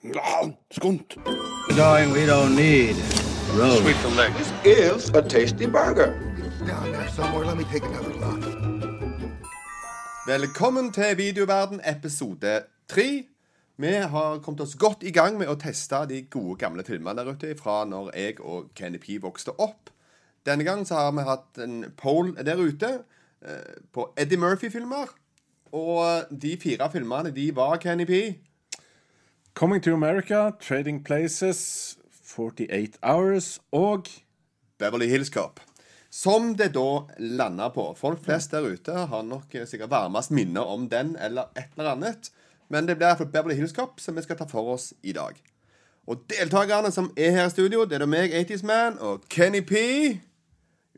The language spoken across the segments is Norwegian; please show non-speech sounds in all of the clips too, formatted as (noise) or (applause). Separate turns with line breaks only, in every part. Skunt.
Darling, we don't need roads.
is a tasty burger.
down there somewhere. Let me take another look.
Velkommen til Videoverden episode 3. Vi har kommet oss godt i gang med å teste de gode gamle filmene der ute fra når jeg og Kenny P vokste opp. Denne gangen så har vi hatt en poll der ute eh, på Eddie Murphy-filmer. Og de fire filmene, de var Kenny P.
Coming to America, Trading Places, 48 Hours og
Beverly Hills Cop. Som det da landa på. Folk flest der ute har nok eh, sikkert varmest minne om den eller et eller annet. Men det blir iallfall Beverly Hills Cop som vi skal ta for oss i dag. Og deltakerne som er her i studio, det er da meg, 80's Man, og Kenny P.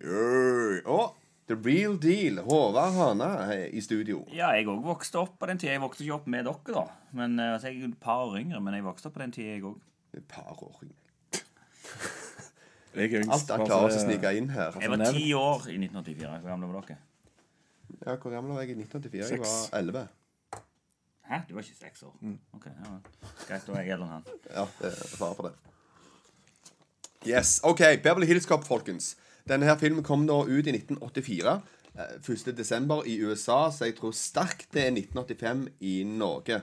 Yay. Og The Real Deal, Håvard Hana, er i studio.
Ja, jeg òg vokste opp på den tida. Jeg vokste ikke opp med dere, da. Men, eh, altså, jeg er et par år yngre, men jeg vokste opp på den tida, jeg òg.
Et par år.
Jeg er yngst.
Alt han
bare
klarer å
så det-
snike inn her.
Jeg var
Nevnt.
ti år i 1984. Hvor gammel var dere?
Ja, Hvor gammel var jeg i 1984? Jeg
Seks.
var 11.
Hæ? Du var ikke seks år? Ok, ja. vel. Greit, da er jeg eldre enn han.
Ja, det er fare for det. Yes, ok, Beverly Hills Cop, folkens. Denne her filmen kom da ut i 1984. eh, 1. desember i USA, så jeg tror sterkt det er 1985 i Norge.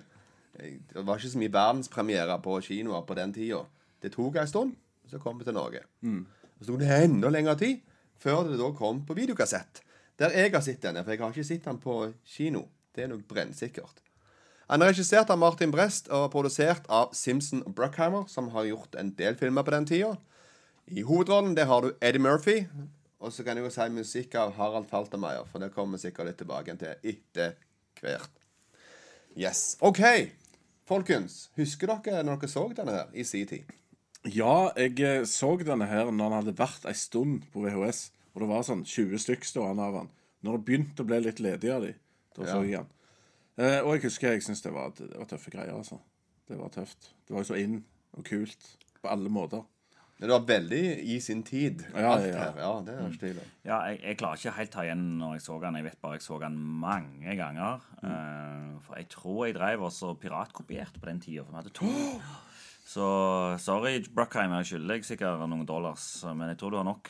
Eh, Det var ikke så mye verdenspremiere på kinoer på den tida. Det tok en stund, så kom det til Norge. Og så tok det enda lengre tid før det da kom på videokassett. Der jeg har sett denne, for jeg har ikke sett den på kino. Det er nok brennsikkert. Han er regissert av Martin Brest og produsert av Simpson og Bruckheimer, som har gjort en del filmer på den tida. I hovedrollen det har du Eddie Murphy, og så kan jeg jo si musikk av Harald Faltermeier, for det kommer vi sikkert litt tilbake til etter hvert. Yes. OK, folkens. Husker dere når dere så denne her i sin tid?
Ja, jeg eh, så denne her når han hadde vært ei stund på VHS. Og det var sånn 20 stykk stående av han. Når det begynte å bli litt ledig av de, da så jeg han. Eh, og jeg husker jeg syntes det, var- det var tøffe greier, altså. Det var tøft. Det var jo så inn og kult på alle måter.
Det var veldig i sin tid.
Ja,
alt
ja, ja.
her. Ja, det er ikke tvil om.
Ja, jeg, jeg klarer ikke helt ta igjen når jeg så han. Jeg vet bare jeg så han mange ganger.
Mm.
Eh, for jeg tror jeg drev også piratkopierte på den tida, for vi hadde
(gasps)
to. Så sorry, Bruckheim, jeg skylder deg sikkert noen dollars, men jeg tror du har nok.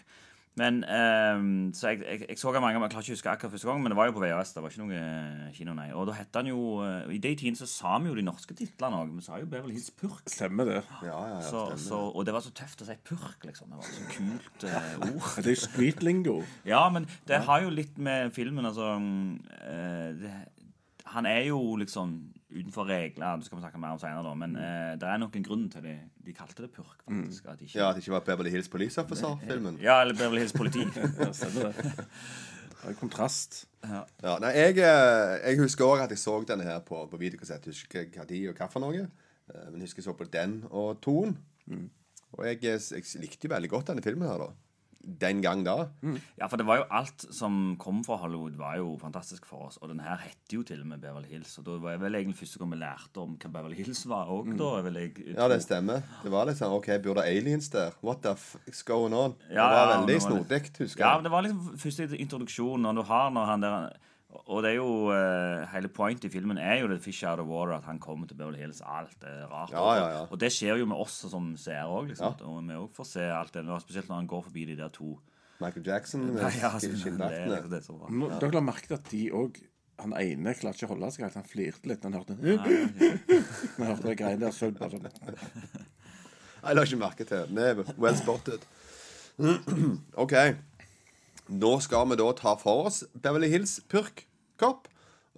Men eh, Så jeg, jeg, jeg så han mange ganger, men jeg klarer ikke å huske akkurat første gang, men det var jo på VHS. Det var ikke noe eh, kino, nei. Og da het han jo eh, I de tidene så sa vi jo de norske titlene òg. Vi sa jo Beverly Hills Purk.
Stemmer det.
Ja, ja, ja,
Så,
stemmer.
så, og det var så tøft å si purk, liksom. Det var så kult
(laughs)
eh, ord.
Det er jo streetlingo.
Ja, men det har jo litt med filmen altså, mm, eh, det, Han er jo liksom utenfor regler, det skal vi snakke mer om senere, da, men eh, det er nok en grunn til det. De kalte det purk, faktisk. At de ikke,
Ja, At det ikke var Beverly Hills Police Officer-filmen.
ja, eller Beverly Hills politi.
Ja, stemmer det. Det er kontrast.
Ja, nei, jeg, eh, jeg husker også at jeg så denne her på, på videokassett. Husker ikke hva de og hva for noe. eh, Men husker jeg så på den og toen.
Mm.
Og jeg, eh, s- jeg likte jo veldig godt denne filmen her, da. Den gang da.
Ja, for det var jo alt som kom fra Hollywood, var jo fantastisk for oss. Og den her heter jo til og med Beverly Hills, og da var jeg vel egentlig første gang vi lærte om hva Beverly Hills var òg, da. Vil jeg,
Ja, det stemmer. Det var litt sånn OK, bor det aliens der? What the f is going on?
Ja,
det var
ja,
veldig
det var litt-
snodig, husker
Ja,
jeg.
men det var liksom første introduksjon når du har når han der Og det er jo eh, hele pointet i filmen er jo det fish out of water, at han kommer til Beverly Hills. Alt er rart.
Ja, ja, ja.
Og det skjer jo med oss som seere òg. Liksom, at- Og vi òg får se alt det. og Spesielt når han går forbi de der to.
Michael Jackson eh, med
(laughs) Ja, altså, det, er-
skinndraktene.
det er så bra.
Nå, Dere la merke til at de òg Han ene klarte ikke å holde seg helt. Han flirte litt. når Han hørte Når (laughs) han hørte de greiene der. Så bare sånn
Jeg la ikke merke til det. Det er Well spotted. (clears throat) OK. Nå skal vi da ta for oss Beverly Hills Purk Cop.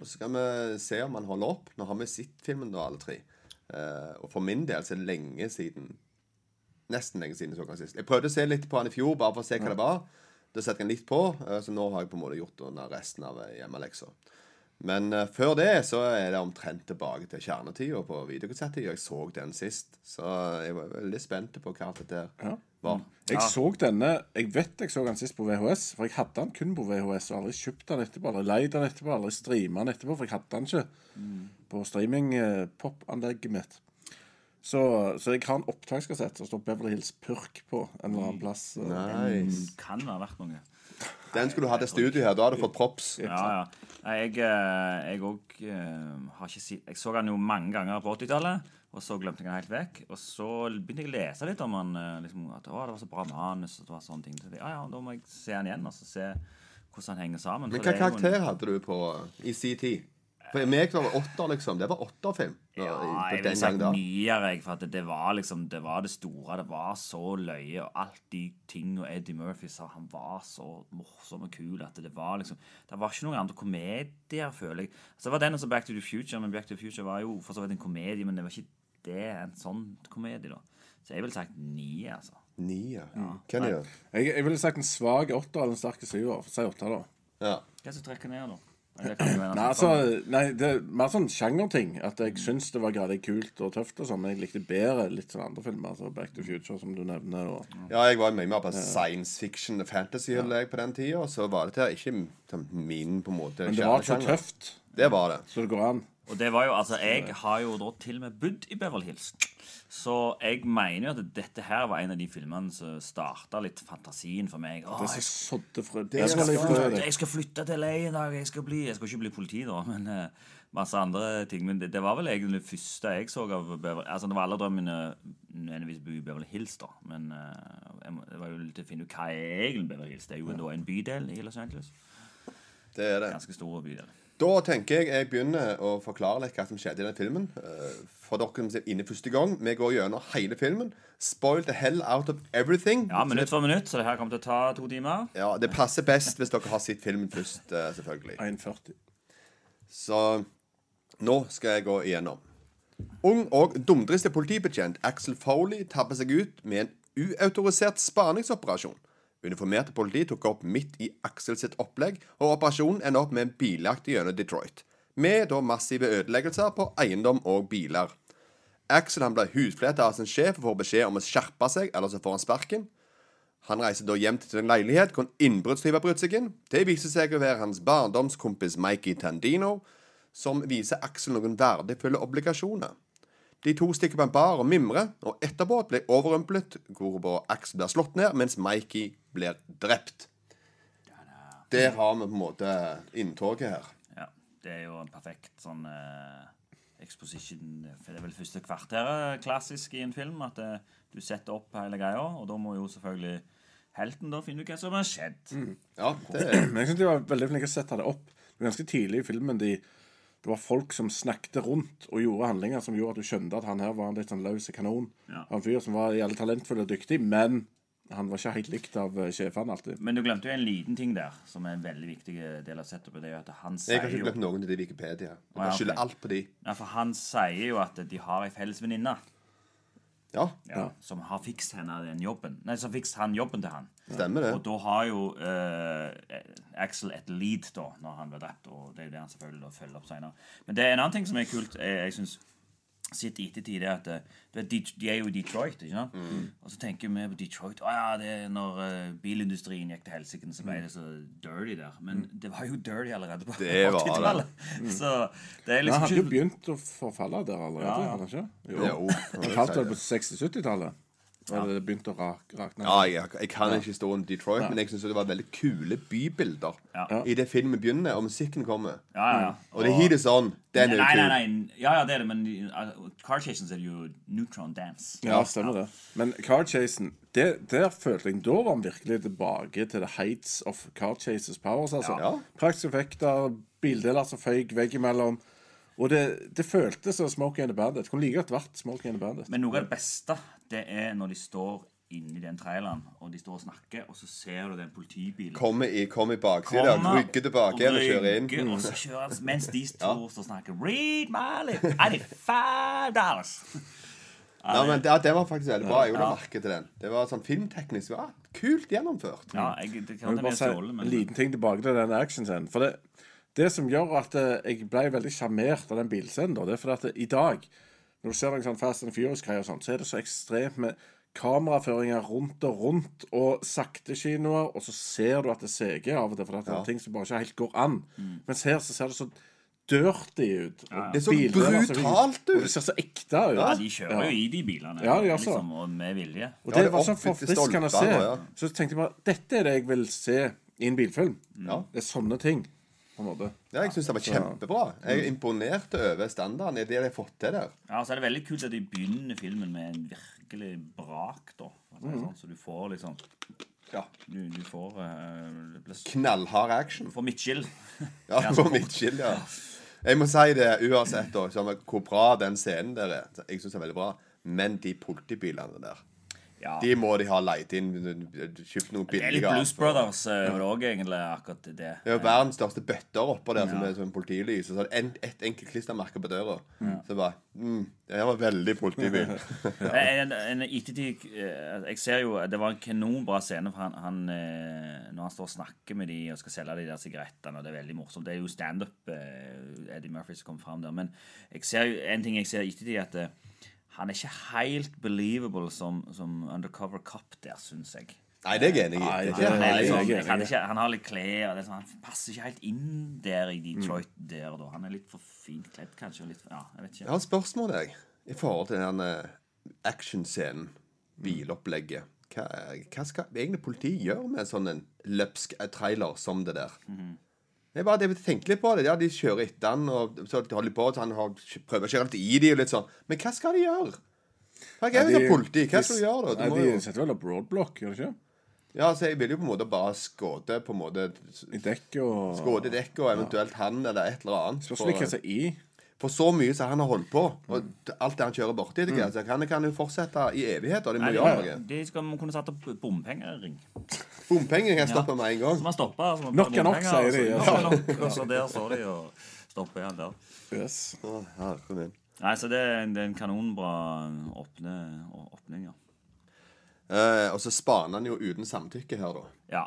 Og så skal vi se om han holder opp. Nå har vi sett filmen, da, alle tre. Eh, og for min del så er det lenge siden. Nesten lenge siden jeg så den sist. Jeg prøvde å se litt på han i fjor, bare for å se hva det var. Da satte jeg den litt på, eh, så nå har jeg på en måte gjort under resten av eh, hjemmeleksa. Men eh, før det så er det omtrent tilbake til kjernetida på videokassettida. Jeg så den sist, så jeg var veldig spent på hva alt dette her
Ja.
var.
Jeg så denne Jeg vet jeg så den sist på VHS, for jeg hadde den kun på VHS. Og aldri kjøpt den etterpå, aldri leid den etterpå, aldri streama den etterpå, for jeg hadde den ikke på streaming-pop-anlegget mitt. Så, så jeg har en opptakskassett som står Beverly Hills Purk på en eller annen plass. eh. Mm.
Nice.
Kan være verdt noe.
Den skulle du hatt i studio her. Da hadde du fått props.
Ja, ja. Nei, Jeg eh, jeg òg eh, har ikke sett Jeg så han jo mange ganger på 80-tallet. Og så glemte jeg den helt vekk. Og så begynte jeg å lese litt om han, eh, liksom, at å, det var så bra manus. og det var sånne ting. Så jeg, ja, ja, Da må jeg se han igjen og så se hvordan han henger sammen.
Men
for det
hva
er jo en-
karakter hadde du på i sin tid? For meg var det åtter, liksom. Det var åtterfilm.
Ja,
på
jeg
den
ville sagt
gangen da.
nier, jeg. For at det, det var liksom Det var det store. Det var så løye, og alt de tingene Eddie Murphy sa Han var så morsom og kul at det var liksom Det var ikke noen andre komedier, føler jeg. Altså, det var den og så Back to the Future, men Back to the Future var jo for så vidt en komedie, men det var ikke det en sånn komedie, da. Så jeg ville sagt nier, altså.
Nier. Hvem er det?
Jeg, jeg ville sagt en svak åtter eller en sterk syver. Si åtter, da.
Ja.
Hva er det som trekker ned, da? Nei, det kan jo være
Nei,
noe
altså,
sånn.
nei, det er mer sånn sjangerting. At jeg syns det var gradig kult og tøft, og sånn, men jeg likte bedre litt sånn andre filmer. Altså Back to Future, som du nevner. Og,
ja, jeg var mye mer på science fiction og fantasy holdt jeg på den tida. Så var det til ikke sånn min på en måte
men det var så
kjernesjanger.
tøft,
Det var det.
så det går an.
Og det var jo, altså, jeg har jo da til og med bodd i Beverly Hills. Så jeg mener jo at dette her var en av de filmene som starta litt fantasien for meg. Åh,
Det er
jeg,
så sådde frø.
er
Det
så
var litt
sant.
frø,
skal,
det.
jeg skal flytte til LA en dag. Jeg skal bli Jeg skal ikke bli politi, da, (laughs) men eh, masse andre ting. Men det, det var vel egentlig det første jeg så av Beverly Altså, det var alle drømmene nødvendigvis å bo i Beverly Hills, da. Men eh, jeg må, det var jo litt å finne ut hva er egentlig Beverly Hills. Det er jo da en bydel i Los Angeles.
Det er det.
Ganske stor bydel.
Da tenker jeg jeg begynner å forklare litt hva som skjedde i den filmen. Eh, For dere som er inne første gang, vi går gjennom hele filmen. Spoil the hell out of everything.
Ja, minutt for minutt, så det her kommer til å ta to timer.
Ja, Det passer best hvis dere har sett filmen først, eh, selvfølgelig.
1,40.
Så nå skal jeg gå igjennom. Ung og dumdristig politibetjent Axel Foley tabber seg ut med en uautorisert spaningsoperasjon. Uniformerte politi tok opp midt i Axel sitt opplegg, og operasjonen ender opp med en biljakt gjennom Detroit. Med da massive ødeleggelser på eiendom og biler. Axel han blir hudfletta av sin sjef og får beskjed om å skjerpe seg, eller så får han sparken. Han reiser da hjem til en leilighet hvor en innbruddstyv har brutt seg inn. Det viser seg å være hans barndomskompis Mikey Tandino, som viser Axel noen verdifulle obligasjoner. De to stikker på en bar og mimrer, og etterpå blir overrumplet, hvorpå Axel blir slått ned, mens Mikey blir drept. Der har vi på en måte inntoget her.
Ja, det er jo en perfekt sånn eh, exposition for Det er vel første kvarteret klassisk i en film. At eh, du setter opp hele greia, og da må jo selvfølgelig helten da finne ut hva som har skjedd.
Mm. Ja, det er
Men jeg synes de var veldig flinke til å sette det opp. Det var ganske tidlig i filmen de, det var folk som snakket rundt og gjorde handlinger som gjorde at du skjønte at han her var en litt sånn løs kanon.
Ja.
Han fyr som var jævlig talentfull og dyktig, men han var ikke helt likt av eh, sjefene alltid.
Men du glemte jo en liten ting der, som er en veldig viktig del av setupet. Det er jo at han
Jeg
sier
har ikke
jo
glemt noen til de Wikipedia.
Å, ja,
Jeg skylder
ok.
alt på de.
Nei, for han sier jo at de har ei felles venninne
Ja,
ja, som har fikst henne den jobben. Nei, som fikst han jobben til han.
stemmer det.
Og da har jo eh, Axel et lead da når han blir drept, og det er jo det han selvfølgelig da følger opp senere. Men det er en annen ting som er kult, eh, jeg, jeg synes, sitt i ettertid, er at eh, du vet, de, de er jo i Detroit, ikke sant?
Mm.
Og så tenker vi på Detroit Å ja, det er når eh, bilindustrien gikk til helsike, så
Mm.
ble det så dirty der. Men det var jo dirty allerede på
Det var det. Mm.
80-tallet. Så
Men
det er
han
liksom
hadde jo
ikke
begynt å forfalle der allerede,
Ja, ja.
hadde han ikke?
Jo,
Han falt vel på 60-70-tallet? Da det begynte å rak- rakne?
Ja, jeg, jeg kan ikke historien om Detroit, men jeg syns det var veldig kule bybilder
Ja.
i det filmen begynner, og musikken kommer.
Ja, ja, ja.
Og det heat is on. Den er jo
Nei, nei,
kul.
nei. Ja, ja, det er det, men uh, Car Chases er jo Neutron Dance.
Ja, stemmer det. Men car chasen, det, der følte jeg Da var han virkelig tilbake til the heights of car chases powers. altså.
Ja.
Praktiske effekter, bildeler som føyk veggimellom. Og det, det føltes som Smokey and the Bandit. Kunne like godt vært Smokey and the Bandit.
Men noe av det beste det er når de står inni den traileren og de står og snakker, og så ser du den politibilen
Kommer i, kom i baksida, rygger tilbake igjen og kjører inn.
rygger, Og så kjører han mens
(laughs)
de står og snakker Read my lips! I need five dollars!
Ja, men det, ja, den var faktisk veldig bra. Jeg la merke til den. Det var sånn filmteknisk ja, kult gjennomført.
Ja, jeg, det
Jeg
kan
vil
hende
bare
jeg
si
stjålet,
en
men
liten ting tilbake til den actionscenen. For det, det som gjør at eh, jeg ble veldig sjarmert av den bilscenen, da, det er fordi at eh, i dag, når du ser noen sånn Fast and Furious-greier, og sånt, så er det så ekstremt med kameraføringer rundt og rundt, og sakte kinoer, og så ser du at det seger av og til, fordi at det er ting som bare ikke helt går an.
Mm.
Mens her så ser det så dirty ut. og
Det så
bildeler som-
brutalt ut.
altså, Og det ser så ekte ut.
ja, de kjører jo i de bilene.
Ja, de gjør så.
liksom, og med vilje.
Og
Ja,
det,
det
var så
oppfylte
forfriskende å se.
stolper, ja.
Så tenkte jeg bare dette er det jeg vil se i en bilfilm.
Ja.
Det er sånne ting. på en måte.
Ja, jeg syns det var kjempebra. Jeg er imponert over standarden i det de har fått til der.
Ja, så er det veldig kult at de begynner filmen med en virkelig brak, da. Altså,
Mhm.
sånn, så du får liksom
Ja.
Du, du får eh, det blir s-
Knallhard action.
Du får midtskill.
Ja,
Ja.
på midtskill, ja. Jeg må si det uansett da, som hvor bra den scenen der er. Jeg syns det er veldig bra. Men de politibilene der,
(laughs) Ja.
de må de ha leid inn. Kjøpt noen
Det er litt
billige.
Blues Brothers eh, over det òg, egentlig, akkurat det.
Det er jo verdens største bøtter oppå der som er som politilys. Og så er det en, et enkelt klistermerke på døra. Så bare mm, Det her var veldig (laughs) politibil.
Eh, En, en ettertid eh, Jeg ser jo Det var en kanonbra scene for han, han eh, når han står og snakker med de og skal selge de der sigarettene, og det er veldig morsomt. Det er jo standup eh, Eddie Murphy som kom fram der. Men jeg ser jo, en ting jeg ser i ettertid, er at eh, han er ikke helt believable som, som undercover cop der, syns jeg.
Nei, det er jeg enig i. Det er ikke
Han, er
helt
litt sånn-
jeg er
jeg
enig.
hadde ikke, han har litt klær og det er sånn, Han passer ikke helt inn der i Detroit der og da. Han er litt for fint kledd, kanskje. Og litt, ja, jeg vet ikke.
Jeg har et spørsmål jeg, i forhold til den eh, actionscenen, bilopplegget. Hva, hva skal egentlig politiet gjøre med en sånn en løpsk eh, trailer som det der? Det er bare det vi tenker litt på det. Ja, De kjører etter han, og så holder de på så han har, prøver å kjøre litt i de og litt sånn. Men hva skal de gjøre? Jeg er jo ikke politi. Hva skal du gjøre, da? Du
Nei,
må
de
jo,
setter vel opp roadblock, gjør de ikke?
ja, så jeg vil jo på en måte bare skåde på en måte
I dekket og
Skåde dekket og eventuelt han eller et eller annet.
Spørs
for-
litt hva som er i.
For så mye som han har holdt på,
Mm.
og d- alt det han kjører borti mm. så kan, kan jo fortsette i evigheter. De må
Nei,
gjøre
de,
noe.
de skal man kunne satt opp bompengering.
Bompenger kan
Ja.
stoppe med en
Så
gang.
man stopper. Så man
Nok er nok, sier
bompenger,
de,
og
ja.
Så, nok er nok, og (laughs) så der står de og stopper igjen der.
Yes.
Å, herre min.
Nei, så det, er en- det er en kanonbra åpne, å- åpning, ja.
Eh, og så spaner han jo uten samtykke her, da.
Ja.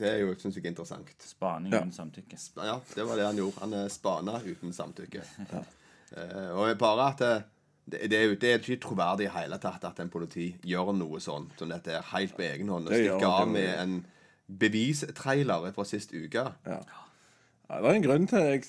Det er jo, synes jeg, interessant.
Spaning uten samtykke.
Ja, det var det han gjorde. Han eh, spana uten samtykke. Eh, og bare at eh, det, det, er jo, det er ikke troverdig i hele tatt at en politi gjør noe sånt som dette er helt på egen hånd. Og
Det gjør han,
stikker av
det
med
gjør
en bevistrailer fra sist uke. Ja,
Ja, det er en grunn til Jeg,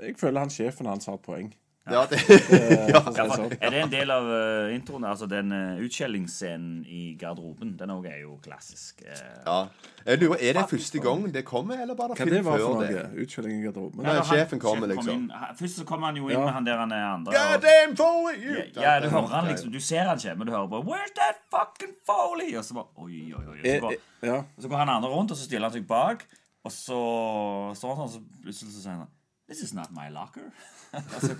jeg føler han sjefen hans har et poeng.
det, (laughs)
for å si
Ja,
det
for,
sånn.
er det en del av eh, introen? Altså den uh, utskjellingsscenen i garderoben, den også er jo klassisk. eh.
ja. Jeg lurer, Er det første gang det kommer, eller bare
Hva det
film
var for
før
noe?
det?
Utkjøling i garderoben?
Ja.
Eller han-
sjefen kommer,
sjef
liksom.
inn. Han- Først så kommer han jo inn
Ja.
med han der han er andre.
God
og-
damn Foley! you!
Ja, du hører han liksom, du ser han ikke, men du hører bare 'Where's that fucking Foley?' Og så bare Oi, oi, oi. og Så
Eh,
går,
eh, Ja.
og så går han andre rundt, og så stiller han seg bak, og så står han sånn, så plutselig så sier han This is not my locker. (laughs) og så,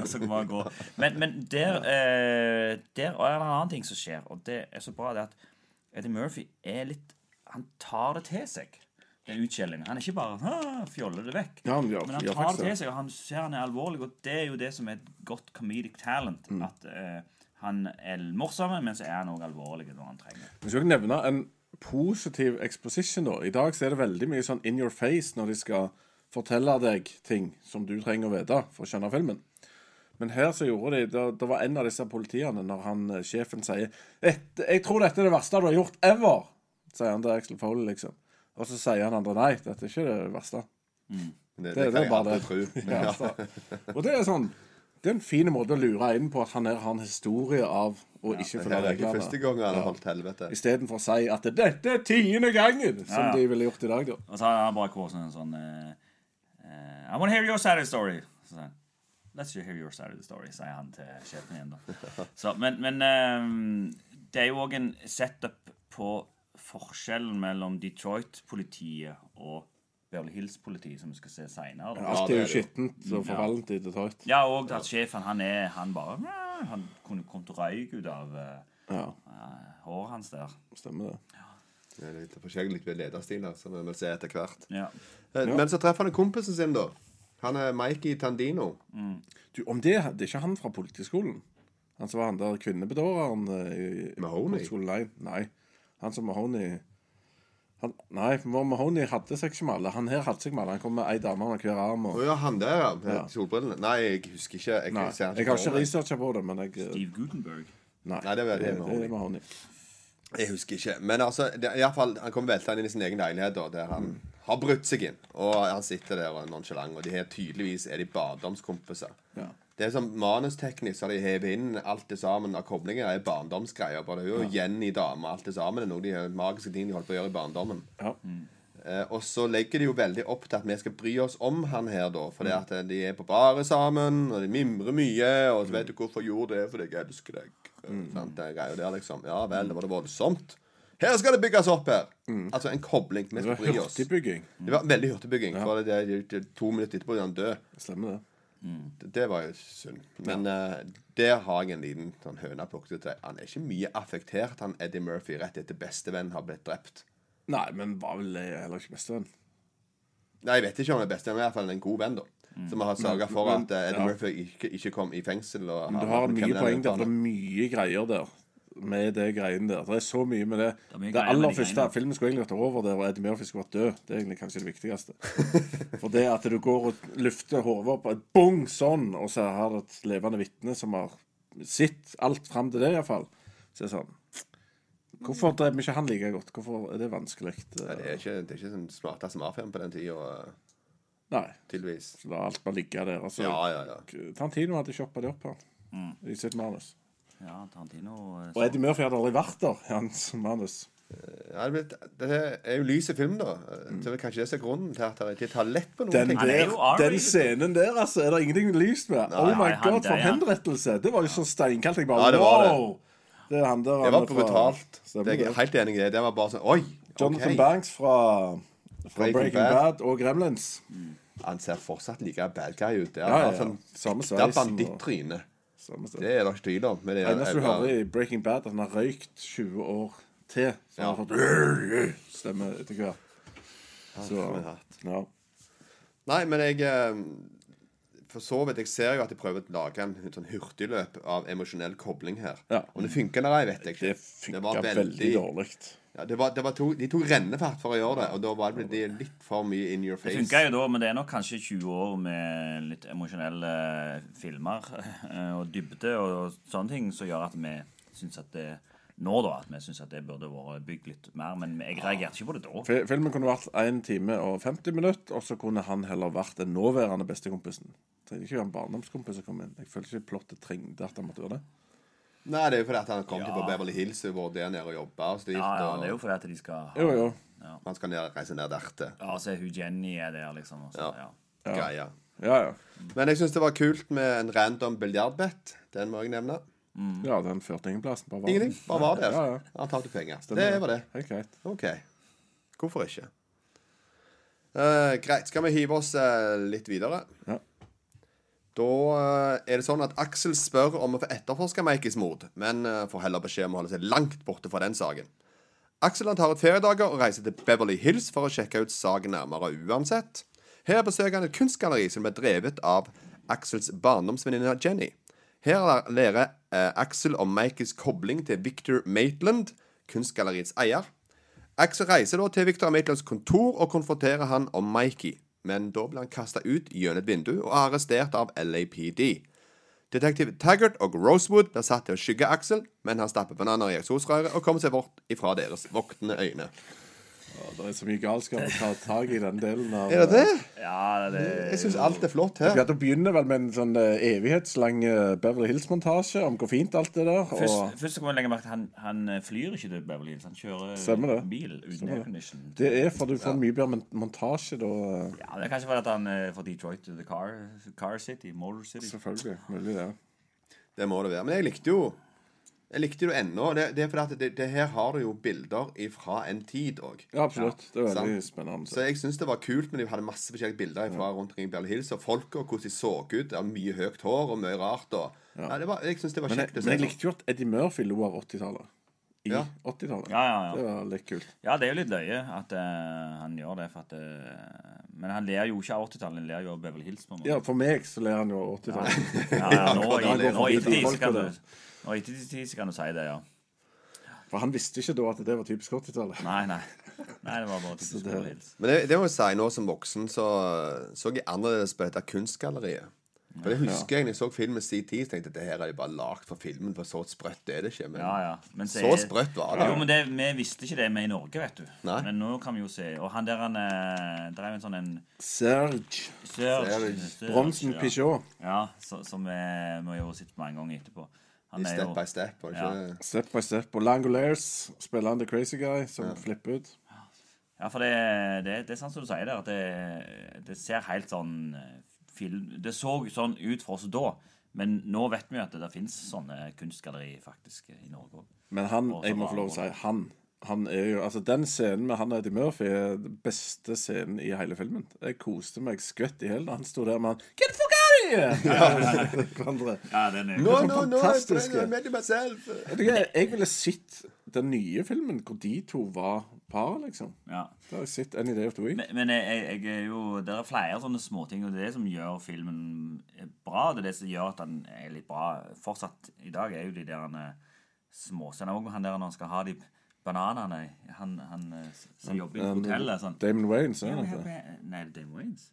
og så bare går. Men, men der, eh, der er det en annen ting som skjer, og det er så bra det er at Eddie Murphy er litt Han tar det til seg, den utskjellingen. Han er ikke bare «Ah, fjoller det vekk.
Ja, han gjør-
men han
gjør
tar
faktisk
det til
det.
seg, og han ser han er alvorlig, og det er jo det som er et godt comedic talent.
Mm.
At eh, han er morsom, men så er han òg alvorlig når han trenger det.
Vi skal ikke nevne en positiv exposition, da. I dag så er det veldig mye sånn in your face når de skal fortelle deg ting som du trenger å vite for å skjønne filmen. Men her så gjorde de Det, det var en av disse politiene når han eh, sjefen sier «Et- 'Jeg tror dette er det verste du har gjort ever', sier han til Axel Foley, liksom. Og så sier han andre 'Nei, dette er ikke det verste'.
Det,
Det, det,
kan
er
jeg
bare
aldri tro.
det.
Ja.
Ja, så. Og det er sånn Det er en fin måte å lure inn på at han her har en historie av å ikke
Det
følge
er ikke
reglene.
første gang han har holdt helvete.
Istedenfor å si at dette er tiende gangen, som
Ja, ja.
de ville gjort i dag, da.
Og så har han bare kåsen en sånn eh, eh, I wanna hear your side of the story. Så sier han, Let's hear your side of the story, sier han til sjefen igjen. da. Så, men men eh, det er jo òg en setup på forskjellen mellom Detroit-politiet og Beverly Hills-politiet, som vi skal se seinere.
Alt
det
er jo
er det jo.
skittent og forvallent i Detroit.
Ja, og at sjefen han er Han bare "Mæ", Han kunne kommet røyk ut av eh,
Ja,
eh, håret hans der.
stemmer det.
Det er litt forskjellig ved lederstiler, som vi vil se etter hvert.
Ja.
Eh, Men så treffer han kompisen sin, da. Han er Mikey Tandino.
Du, om det, det er ikke han fra politiskolen? Han som var han der kvinnebedåreren eh, i i
Mahoney?
politiskolen? Nei, nei. Han som Mahoney han, Nei, for Mahoney hadde seg ikke med alle. Han her hadde seg med alle. Han kom med ei dame under hver arm.
Å
Og,
ja, han der, ja. med Solbrillene. Nei, jeg husker ikke. Jeg,
nei,
ser han
jeg har
for
ikke
meg.
researcha på det, men jeg
Steve Gutenberg.
Nei,
Nei, det er- det er Mahoney.
Mahoney.
Jeg husker ikke. Men altså, det, i alle fall, han kommer veltende inn i sin egen leilighet, da, der han har brutt seg inn. Og han sitter der og er nonchalant. Og de her tydeligvis er de barndomskompiser.
Ja.
Det er sånn Manusteknisk så har de hevet inn alt det sammen av koblinger. er barndomsgreier. Bare det er jo Jenny dame, alt det sammen. Det er noe de magiske ting de holdt på å gjøre i barndommen.
Ja.
Eh, og så legger de jo veldig opp til at vi skal bry oss om han her, da. Fordi
Mm.
at eh, de er på baret sammen, og de mimrer mye. Og så vet du hvorfor jeg gjorde det, fordi jeg elsker deg. Eh,
Mm.
Sant, det er greia der, liksom. Ja vel, det var det voldsomt. Her skal det bygges opp her! Altså en kobling. Vi
Mm. Det var
skal bry oss.
hurtigbygging.
Det var veldig hurtigbygging. For det, det, det, to minutter etterpå er han død.
Stemmer det.
Det, det var jo synd. Men eh, der har jeg en liten sånn høne plukket til. Han er ikke mye affektert, han Eddie Murphy, rett etter bestevennen har blitt drept.
Nei, men var vel eh, heller ikke bestevenn.
Nei, jeg vet ikke om han er bestevenn, men i hvert fall en god venn, da.
Mm.
Som har sørga for
Men-
at eh, Eddie
ja.
Murphy ikke, ikke kom i fengsel. Og
Men du har mye poeng der. for Det er mye greier der. Med det greiene der. Det er så mye med det.
er mye
Det,
greier med
aller
de
første
greiene.
filmen skulle egentlig vært over der, og Eddie Murphy skulle vært død. Det er egentlig kanskje det viktigste. For det at du går og løfter hodet opp, et bong sånn, og så har du et levende vitne som har sett alt fram til det, iallfall, så er det sånn Hvorfor drev vi ikke han like godt? Hvorfor er det vanskelig?
Nei, det er ikke, det er ikke den smarteste mafiaen på den tida,
Nei.
tydeligvis.
Så La alt bare ligge der. Altså.
Ja, ja, ja.
Tantino hadde shoppa det opp her i sitt manus.
Ja, Tarantino eh,
Og Eddie Murphy hadde aldri vært der i hans manus.
Ja, det, blir- det er jo lyse film, da. Så det er kanskje det som er grunnen til at han ikke tar lett på noen
Den,
ting.
Han er jo
der,
R-rated.
den scenen der, altså, er det ingenting lyst med. oh my
nei, han
god,
der,
for
ja.
henrettelse! Det var jo så steinkaldt. Jeg bare
Ja, det var det.
wow! Det, er han der,
Det
han
var
er fra-
brutalt.
Stemmer
Det er jeg
det.
helt enig i. Det Det var bare sånn Oi!
Jonathan
ok.
Banks fra, fra
Breaking
Breaking, Bad.
Bad.
og Gremlins.
Han ser fortsatt like bad guy ut. Det er
Ja, ja,
bare
ja.
sånn
Samme
ekte
sveisen og-
bandittryne.
Samme sted.
Det er det ikke tvil om. Men det
Det
er
eneste du hører i Breaking Bad, er at han har røykt 20 år til. Så han har fått stemme etter hvert. Så,
for en hatt.
ja.
Nei, men jeg eh, For så vidt, jeg ser jo at de prøver å lage en sånn hurtigløp av emosjonell kobling her.
Ja.
Om det funker eller ei, vet jeg ikke.
Det funka veldig, dårlig.
Ja, det var, det var to, de tok rennefart for å gjøre det, og da var det det litt for mye in your
Det
face.
funka jo da, men det er nok kanskje 20 år med litt emosjonelle filmer (laughs) eh, og dybde og sånne ting som gjør at vi syns at det nå da, at vi syns at det burde vært bygd litt mer. Men jeg reagerte ikke på det da.
Fi- Filmen kunne vært 1 time og 50 minutter, og så kunne han heller vært den nåværende bestekompisen. Trengte ikke være en barndomskompis som kom inn. Jeg følte ikke plottet trengte at han måtte gjøre det.
Nei, det er jo fordi at han kom til på Beverly Hills og vært der nede og jobba og styrt.
Ja, ja,
og
Det er jo fordi at de skal ha
Jo, jo.
Man skal ned, reise ned dertil.
Ja, så er hun Jenny er der, liksom. Og så,
Ja.
ja.
Greia.
Ja, ja.
Men jeg syns det var kult med en random biljardbett. Den må jeg nevne.
ja den førte ingen plass. Bare var
Ingenting. Bare var der.
Ja, ja.
Han tapte penger.
Stemmer
Det var det.
Helt greit.
OK. Hvorfor ikke? Eh, greit. Skal vi hive oss eh, litt videre?
Ja.
Da eh, er det sånn at Aksel spør om å få etterforske Meikis mord, men eh, får heller beskjed om å holde seg langt borte fra den saken. Aksel han tar ut feriedager og reiser til Beverly Hills for å sjekke ut saken nærmere uansett. Her besøker han et kunstgalleri som ble drevet av Aksels barndomsvenninne Jenny. Her læ- lærer eh, Aksel om Meikis kobling til Victor Maitland, kunstgalleriets eier. Aksel reiser da til Victor Maitlands kontor og konfronterer han om Mikey, men da blir han kasta ut gjennom et vindu og er arrestert av LAPD. Detektiv Taggart og Rosewood blir satt til å skygge Aksel, men han stapper bananer i eksosrøret og kommer seg bort ifra deres voktende øyne.
Ja, det er så mye galskap å ta tak i den delen
(laughs)
av
Er det det?
ja, det
Jeg syns alt er flott
Ja,
her.
det begynner vel med en sånn eh, evighetslang eh, Beverly Hills-montasje om hvor fint alt det der.
Først,
Og
først så kan man legge merke til at han, han eh, flyr ikke til Beverly Hills. Han kjører
Stemmer det.
bil uten aircondition.
det er for du får mye bedre mon- montasje da. eh,
Ja, det er kanskje fordi at han er fra Detroit to the car, car City, Motor City.
Selvfølgelig. Mulig det.
Det må det være. Men jeg likte jo Jeg likte det jo ennå. Det, det er fordi at det, det her har du jo bilder ifra en tid òg.
Ja, absolutt. Det er veldig
sant.
spennende.
Så jeg syns det var kult, men de hadde masse forskjellige bilder fra rundt omkring i Beverly Hills. Og folka, hvordan de så ut. Det var mye høyt hår og mye rart. Og... Nei, det var, jeg syns det var
Men jeg,
kjekt å
men
se.
jeg likte jo at Eddie Murphy lo av 80-tallet. I
Ja.
80-tallet.
Ja, ja, ja.
Det var litt kult.
Ja, det er jo litt løye at eh, han gjør det, for at eh, Men han ler jo ikke av 80-tallet, han ler jo av Beverly Hills, på en måte.
Ja, for meg så ler han jo av 80-tallet.
Ja, ja,
(laughs)
nå i
Ja, det går
nå
forbi
i ettertid så
folk
kan
på
du
det.
Nå i ettertid så kan du si det, ja.
For han visste ikke da at det var typisk 80-tallet.
Nei, nei. Nei, det var bare typisk Beverly Hills.
Men det, det må jeg si nå som voksen, så så jeg annerledes på dette kunstgalleriet. For det husker jeg når jeg så filmen CT, så tenkte jeg det her er jo bare lagd for filmen, for så sprøtt er det ikke. Men
Ja, ja. Men
så sprøtt var det.
Jo, men det, Vi visste ikke det, vi i Norge, vet du.
Nei.
Men nå kan vi jo se. Og han der han eh, drev en sånn en
Serge
Serge- Serge,
Bronsen
ja.
Peugeot.
Ja, så, som eh, vi jo har sett mange ganger etterpå. Han
i
er
Step
jo
by step. Var det
Ja.
ikke?
Step by step. Og Langolaires spiller han The Crazy Guy, som flipper ut.
Ja, for det, det, det er sånn som du sier der, at det, det ser helt sånn eh, film Det så sånn ut for oss da, men nå vet vi jo at det, finnes sånne kunstgalleri faktisk i Norge òg.
Men han,
Og så
jeg må
var
få lov å si,
han
han han er jo, altså Den scenen med han og Eddie Murphy er den beste scenen i hele filmen. Jeg koste meg skvett i hjel da han sto der med han Get the fuck out of here! (laughs) Hverandre.
Ja, den er
No,
sånn
no, no, I
fantastiske.
I made it myself.
Vet du hva, Jeg ville sett den nye filmen hvor de to var par, liksom.
ja.
Da har jeg sett Any Day of the Week.
Men, men jeg, jeg- jeg er jo, det er flere sånne småting, og det er det som gjør filmen bra. Det er det som gjør at den er litt bra fortsatt i dag, er jo de der eh, småscenene. Og han der når han skal ha de bananene Han, han eh, som jobber i
Men
hotellet. sånn.
Damon Wayne, så er
Nei,
han ikke det.
det er Dave Wayans.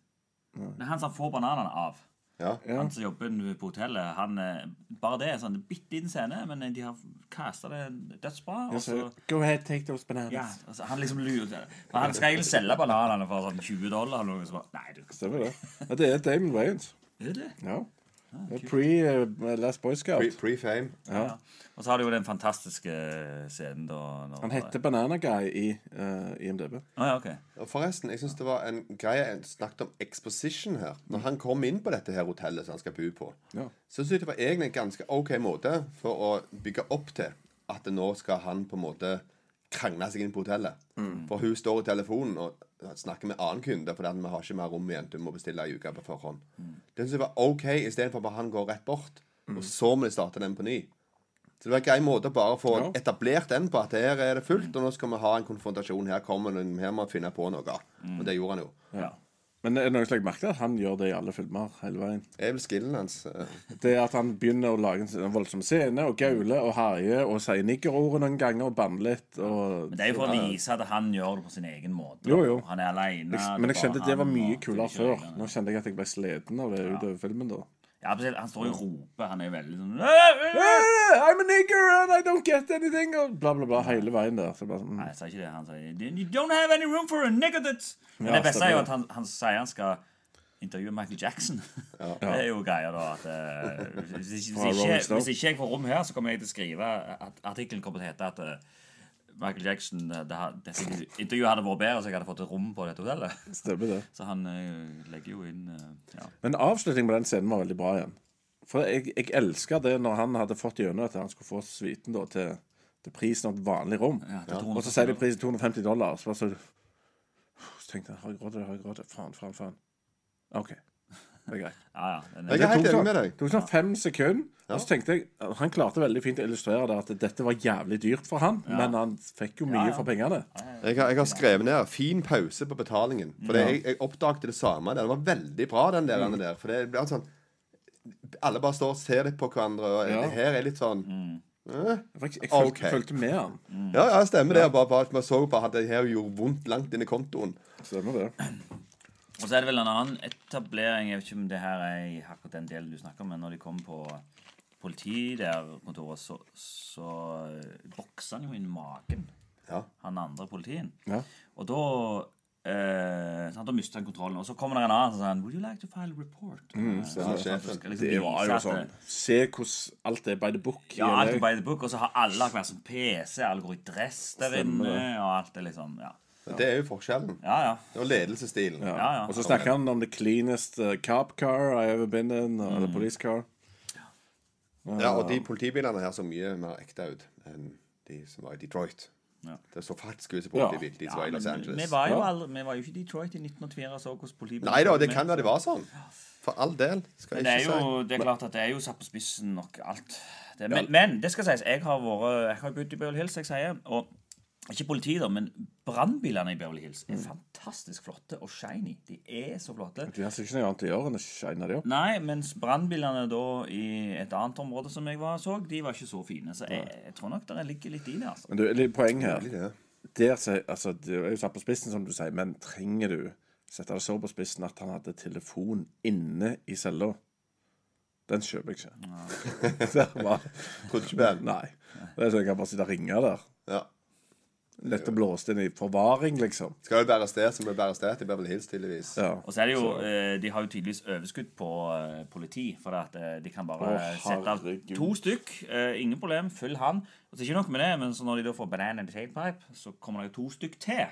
Nei, han som får bananene av.
Ja.
Ja.
Han som jobber på hotellet. Han, eh, bare det er sånn en bitte liten scene, men eh, de har casta det dødsbra. Og så,
Så, Go ahead, take those bananas.
altså- ja, og så han liksom lurer seg. For Han skal egentlig selge bananene for sånn 20 dollar. Eller noe, så bare, nei, du,
Stemmer det. Ja, det er Damon Wayans.
er det det?
Ja.
Ah,
Det er Pre eh, Last Boy Scout.
Pre- Pre-fame.
Ja. Og så har du jo den fantastiske eh, scenen da når,
Han heter Banana Guy i eh, IMDb.
Å, ja, ok.
Og Forresten, jeg synes det var en greie jeg snakket om exposition her. Når han kom inn på dette her hotellet som han skal bo på,
Ja.
så synes jeg det var egentlig en ganske OK måte for å bygge opp til at nå skal han på en måte krangle seg inn på hotellet.
Mm.
For hun står i telefonen og snakker med annen kunde fordi at vi har ikke mer rom igjen. Du må bestille ei uke på forhånd.
Mm.
Det synes jeg var OK, istedenfor at han går rett bort, og så må de starte den på ny. Så det var en grei måte å bare få
Ja. Mm.
etablert den på at her er det fullt, og nå skal vi ha en konfrontasjon. Her kommer den, her må vi finne på noe.
Mm.
Og det gjorde han jo.
Ja.
Men er det noe som jeg merket at han gjør det i alle filmer hele veien.
Det er vel skillen hans. eh,
Det er at han begynner å lage en voldsom scene og gaule og herje og sier niggerordet noen ganger og banne litt. Og,
Men det er jo for å vise at han gjør det på sin egen måte.
Jo, jo.
Han er aleine.
jeg, men jeg kjente det var mye kulere før. Nå kjente jeg at jeg ble sliten av det utover filmen da.
Ja, spesielt, Han står jo og roper. Han er jo veldig sånn Nei,
Eh, I'm a nigger and I don't get anything og bla, bla, bla hele veien der. Så bare, sånn, mm.
jeg sa ikke det. Han sier You don't have any room for a nigger that's Men
Ja,
det beste er jo
stemmer.
at han, han sier han skal intervjue Michael Jackson. (laughs) Det er jo greia, da. At, eh, hvis, hvis,
Fra Rolling
ikke,
Stone.
hvis ikke jeg får rom her, så kommer jeg til å skrive at artikkelen kommer til å hete at eh, Michael Jackson eh, det, har- det, Intervjuet hadde vært bedre så jeg hadde fått et rom på dette hotellet.
Stemmer det.
Så han eh, legger jo inn eh, ja.
Men avslutningen på den scenen var veldig bra igjen. For jeg, jeg elska det når han hadde fått gjennom at han skulle få suiten da til, til prisen av et vanlig rom.
Ja, til
Og
250
så sier de prisen 250 dollar. Så, bare så, så tenkte jeg har jeg råd til det, har jeg råd til det? Faen, faen, faen. OK. Det er greit.
Ja, ja. Den,
Jeg
er-
er
tok
helt enig
sånn-
med deg.
tok sånn fem sekunder, og så tenkte jeg Han klarte veldig fint å illustrere det at dette var jævlig dyrt for han, men han fikk jo mye for pengene.
Jeg har, jeg har skrevet ned 'fin pause på betalingen'. For det, jeg, jeg oppdagte det samme. der. Det var veldig bra, den
Mm.
der. der for det blir sånn Alle bare står og ser litt på hverandre, og
Ja.
det her er litt sånn
Mm.
Jeg, fikk- jeg fulgte,
Ok.
fulgte med han.
Ja, ja, stemmer det. Bare, bare, man så bare at det her gjorde vondt langt inn i kontoen.
Stemmer det.
Og så er det vel en annen etablering Jeg vet ikke om det her er i akkurat den delen du snakker om, men når de kom på politi der kontoret, så, så eh, bokser han jo inn magen.
Ja.
Han andre politien.
Ja.
Og da eh, sant, Da mister han kontrollen. Og så kommer det en annen som sier han, Would you like to file a report? Eh,
Ja,
sånn at du
sjefen.
skal liksom
Det
vise
var jo
at-
sånn Se hvordan alt er by the book. i
Ja, alt er
LA.
by the book, og så har alle hver sin PC, alle går i dress der
Stemmer
inne,
det.
og alt er liksom Ja,
Det er jo forskjellen.
ja. ja.
Det var ledelsesstilen.
ja, ja.
Og så snakker han om the cleanest uh, cop car I ever been in, eller police car.
Ja, og de politibilene her så mye mer ekte ut enn de som var i Detroit.
Ja.
Det så faktisk ut som politibil, de som var i Los
men vi
Angeles.
var, jo
Ja.
aldri, vi var jo ikke i Detroit i 1904 og så hvordan politiet
Nei da, det kan være det var sånn. For all del. Skal
Men
jeg
det er
ikke si.
jo det er klart at det er jo satt på spissen nok alt. Det, men, men det skal sies, jeg har vært Jeg har bodd i Beverly Hills, jeg sier. Og ikke politiet, da, men brannbilene i Beverly Hills
Mm.
er fantastisk flotte og shiny. De er så flotte.
De har sikkert ikke noe annet å gjøre enn å shine de opp.
Nei, mens brannbilene da i et annet område som jeg var så, de var ikke så fine. Så jeg, jeg tror nok det ligger litt i det, altså.
Men du, litt poeng her
det.
Der, sier- altså, Det er jo satt på spissen, som du sier, men trenger du sette det så på spissen at han hadde telefon inne i cella? Den kjøper jeg ikke. (laughs) det er bare,
Trodde ikke på den.
nei. Det er sånn jeg kan bare sitte og ringe der.
Ja.
Lett å blåse inn i forvaring, liksom.
Skal jo bære sted som blir bære sted i Beverly Hills, tydeligvis.
Ja.
Og så er det jo, eh, De har jo tydeligvis overskudd på eh, politi, for at eh, de kan bare
Å,
eh, sette av
herregud.
to stykk. eh, Ingen problem, følg han. Og så er det ikke nok med det, men så når de da får banana in the tailpipe, så kommer det jo to stykk til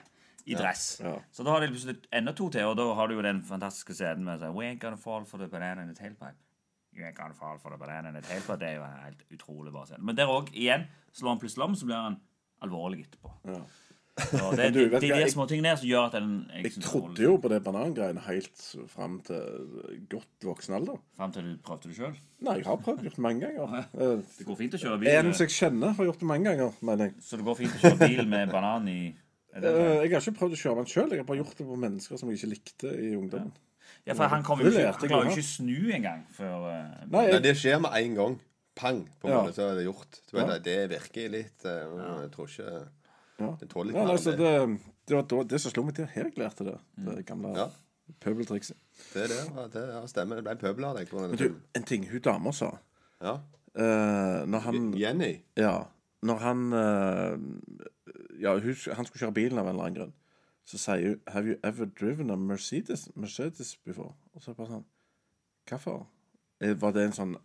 i dress. Så da har de plutselig enda to til, og da har du jo den fantastiske scenen med sånn We ain't gonna fall for the banana in the tailpipe. You ain't gonna fall for the banana in the tailpipe. Det er jo en helt utrolig bra scene. Men der òg, igjen, slår han plutselig om, så blir han alvorlig etterpå.
(laughs)
Så det er
du,
de,
vet
de,
hva,
der
jeg-
små tingene der som gjør at den jeg
Jeg
synes
trodde
den holder
jo på det banangreiene helt fram til godt voksen alder.
Frem til du prøvde det sjøl.
Nei, jeg har prøvd gjort det mange ganger.
Det går fint å kjøre
Eh,
bil
En
med,
som jeg kjenner, har gjort det mange ganger, mener jeg.
Så det går fint å kjøre bil med banan i er det det?
Eh, Jeg har ikke prøvd å kjøre den sjøl, jeg har bare gjort det på mennesker som jeg ikke likte i ungdommen.
Ja, for han kommer jo
Det
ikke
lærte
Han
jeg jo
klarer jo ikke snu engang før eh,
Nei,
Nei,
jeg,
det skjer med en gang. Pang, på en
Ja.
måte, så er det gjort. Du vet, Det virker litt eh, Jeg tror ikke Det tåler litt
ja,
mer
nei,
enn
så
det. Mm.
det, det var da- det som slo meg til, her jeg lærte det. Det gamle
Ja.
pøbeltrikset.
Det er det, ja, det ja, stemmer. Det ble en pøbel av deg. på denne
Du,
filmen.
en ting hun dama sa
Ja.
eh, Når han
Jenny.
Ja. Når han eh, Ja, hun, han skulle kjøre bilen av en eller annen grunn, så sier hun 'Have you ever driven a Mercedes, Mercedes before?' Og så er det bare sånn Hvorfor? Eh, Var det en sånn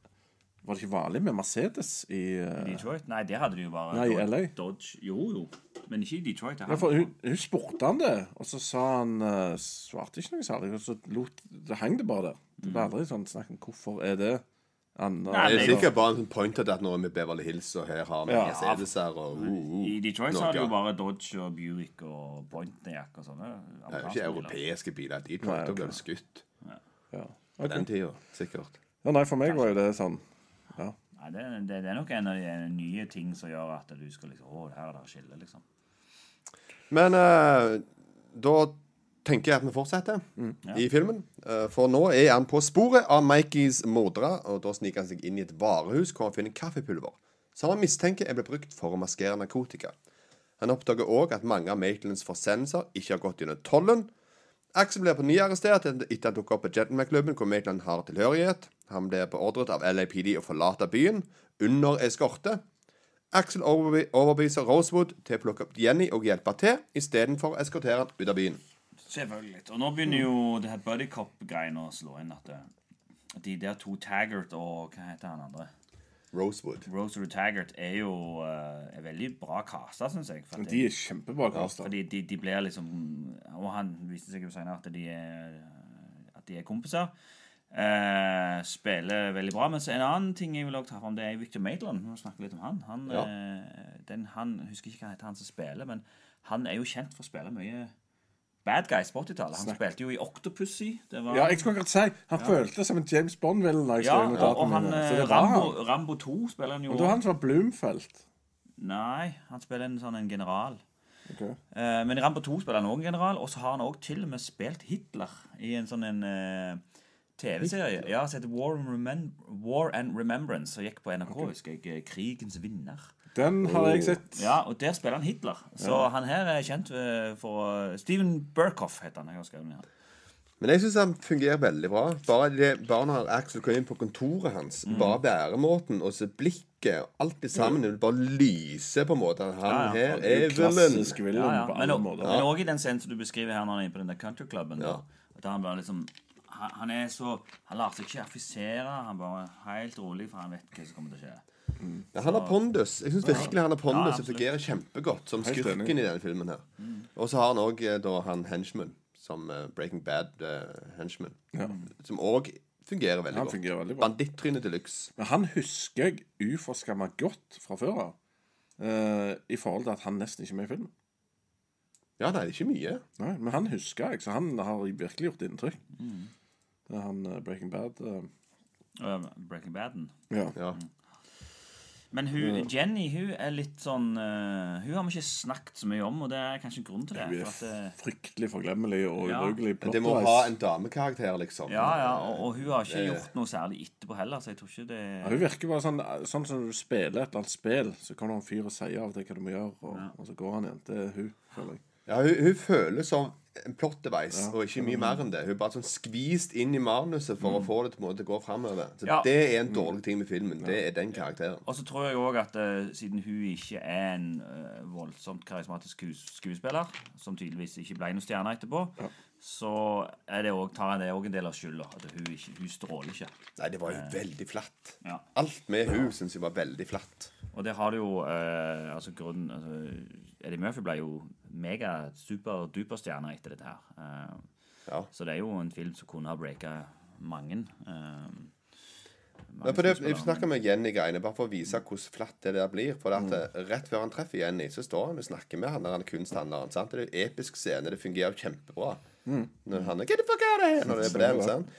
Var det ikke vanlig med Mercedes i eh,
Detroit? Nei, det hadde de jo bare
Nei, i
Dodge-
LA.
Dodge. Jo, jo. Men ikke i Detroit. det er
ja, for
han.
hun, hun spurte han det, og så sa han eh, svarte ikke noe særlig. Og så lot, det hang det bare der. Det ble aldri sånn snakk om hvorfor er det annet.
Mm. Nei,
Det
men-
er sikkert bare en sånn point at nå er vi i Beverly Hills, og her har vi
Ja.
Mercedeser og uh, uh,
I Detroit så har de jo
Norge.
bare Dodge og Buick og Pointiac og sånne.
Det er jo
amerikanske biler.
ikke europeiske biler. De
Nei,
prøvde å
ok.
bli skutt
ja.
på den
Ok.
tida, sikkert.
ja, nei, for meg var jo det sånn
Nei, det, det, det er nok en av de nye ting som gjør at du skal liksom Å, her er det skille, liksom.
Men eh, da tenker jeg at vi fortsetter i filmen. Eh, for nå er han på sporet av Mikeys mordere, og da sniker han seg inn i et varehus hvor han finner kaffepulver, som han mistenker er blitt brukt for å maskere narkotika. Han oppdager òg at mange av Maitlands forsendelser ikke har gått gjennom tollen. Axel blir på ny arrestert etter at han dukket opp på Gentleman-klubben hvor Maitland har tilhørighet. Han blir beordret av LAPD å forlate byen under eskorte. Axel overbe- overbeviser Rosewood til å plukke opp Jenny og hjelpe til, istedenfor å eskortere han ut av byen.
Selvfølgelig. Og nå begynner jo det her buddy cop-greiene å slå inn. At eh, de der to Taggart og Hva heter han andre?
Rosewood.
Rosary Taggart er jo eh, er veldig bra kasta, syns jeg. For at
De er kjempebra kasta.
Fordi de, de blir liksom Og han viste seg jo senere at de er, at de er kompiser. Eh, spiller veldig bra. Men så en annen ting jeg vil også ta fram, det er Victor Maitland. Vi må snakke litt om han. Han,
Ja.
eh, den, han jeg husker ikke hva han heter han som spiller, men han er jo kjent for å spille mye bad guys på 80-tallet. Han spilte jo i Octopussy. Det var
Ja, jeg skulle akkurat si Han følte som en James Bond-villain. når jeg
Ja,
skrev notatene
og han,
mine. Så
eh,
det var han.
Rambo, Rambo 2 spiller han jo
Og det var han som var Bloomfelt.
Nei, han spiller en sånn en general.
Ok.
Eh, men i Rambo 2 spiller han òg en general, og så har han òg til og med spilt Hitler i en sånn en eh, TV-serie Ja, som heter War and, Remem War and Remembrance, som gikk på NRK, husker jeg. eh, Krigens vinner.
Den har jeg sett.
Ja, og der spiller han Hitler. Så han her er kjent eh, for Steven Burkhoff heter han. Jeg har skrevet den her.
Men jeg syns han fungerer veldig bra. Bare, det, bare når Axel kom inn på kontoret hans,
Mm.
bare væremåten og så blikket Alt det sammen det bare lyser på en måte. Han
Ja, ja.
her er villain.
Klassisk villain
Ja, ja.
på
Men
alle
og-
måter.
Men òg i den scenen som du beskriver her når han er på den der countryklubben. da, At han bare liksom han, han er så Han lar seg ikke affisere. Han bare er helt rolig, for han vet hva som kommer til å skje.
Ja, Han har pondus. Jeg syns virkelig han har
Ja,
pondus. Det
absolutt.
fungerer kjempegodt som
Helt
skurken
enig.
i denne filmen her. Og så har han òg da han henchman, som eh, Breaking Bad eh, henchman, som òg fungerer veldig
Han
godt.
fungerer veldig bra.
Bandittryne de luxe.
Men han husker jeg uforskamma godt fra før av. eh, I forhold til at han nesten ikke er med i filmen.
Ja, nei, det er ikke mye.
Nei, men han husker jeg, så han har virkelig gjort inntrykk.
Mm.
Det er han eh, Breaking Bad eh,
Øh, Breaking Baden.
ja.
Ja.
Men hun, Jenny hun er litt sånn øh, Hun har vi ikke snakket så mye om, og det er kanskje en grunn til det.
Hun er
For at, øh,
fryktelig forglemmelig og
Ja.
ubrukelig.
Men det må
plot-wise.
ha en damekarakter, liksom.
ja, ja, og, og hun har ikke
Det-
gjort noe særlig etterpå heller, så jeg tror ikke det
Ja, Hun virker bare sånn Sånn som når du spiller et eller annet spill, så kommer det en fyr og sier av deg hva du må gjøre, og, og så går han igjen. Det er hun, føler jeg.
Ja, hun, hun føles som en plot device, og ikke mye mer enn det. Hun er bare sånn skvist inn i manuset for å få det til å gå framover. Så
Ja.
det er en dårlig ting med filmen. Det er den karakteren.
Og så tror jeg òg at eh, siden hun ikke er en eh, voldsomt karismatisk skues skuespiller, som tydeligvis ikke ble noen stjerne etterpå, så er det også, tar jeg det òg en del av skylda. At hun, ikke, hun stråler ikke.
Nei, det var jo veldig flatt.
Ja.
Alt med hun syns jeg var veldig flatt.
Og det har du jo eh, altså grunnen altså, Eddie Murphy ble jo mega-super-duper-stjerne etter dette her. Eh,
Ja.
Så det er jo en film som kunne ha breaka mange. eh, mange
Men for det,
skuespillere,
jeg snakker med Jenny greiene bare for å vise hvordan flatt det der blir. For at eh, Rett før han treffer Jenny, så står han og snakker med han der han kunsthandleren. Sant? Det er jo episk scene. Det fungerer jo kjempebra. Når han er Get the fuck out of here! Når det er på den, sant?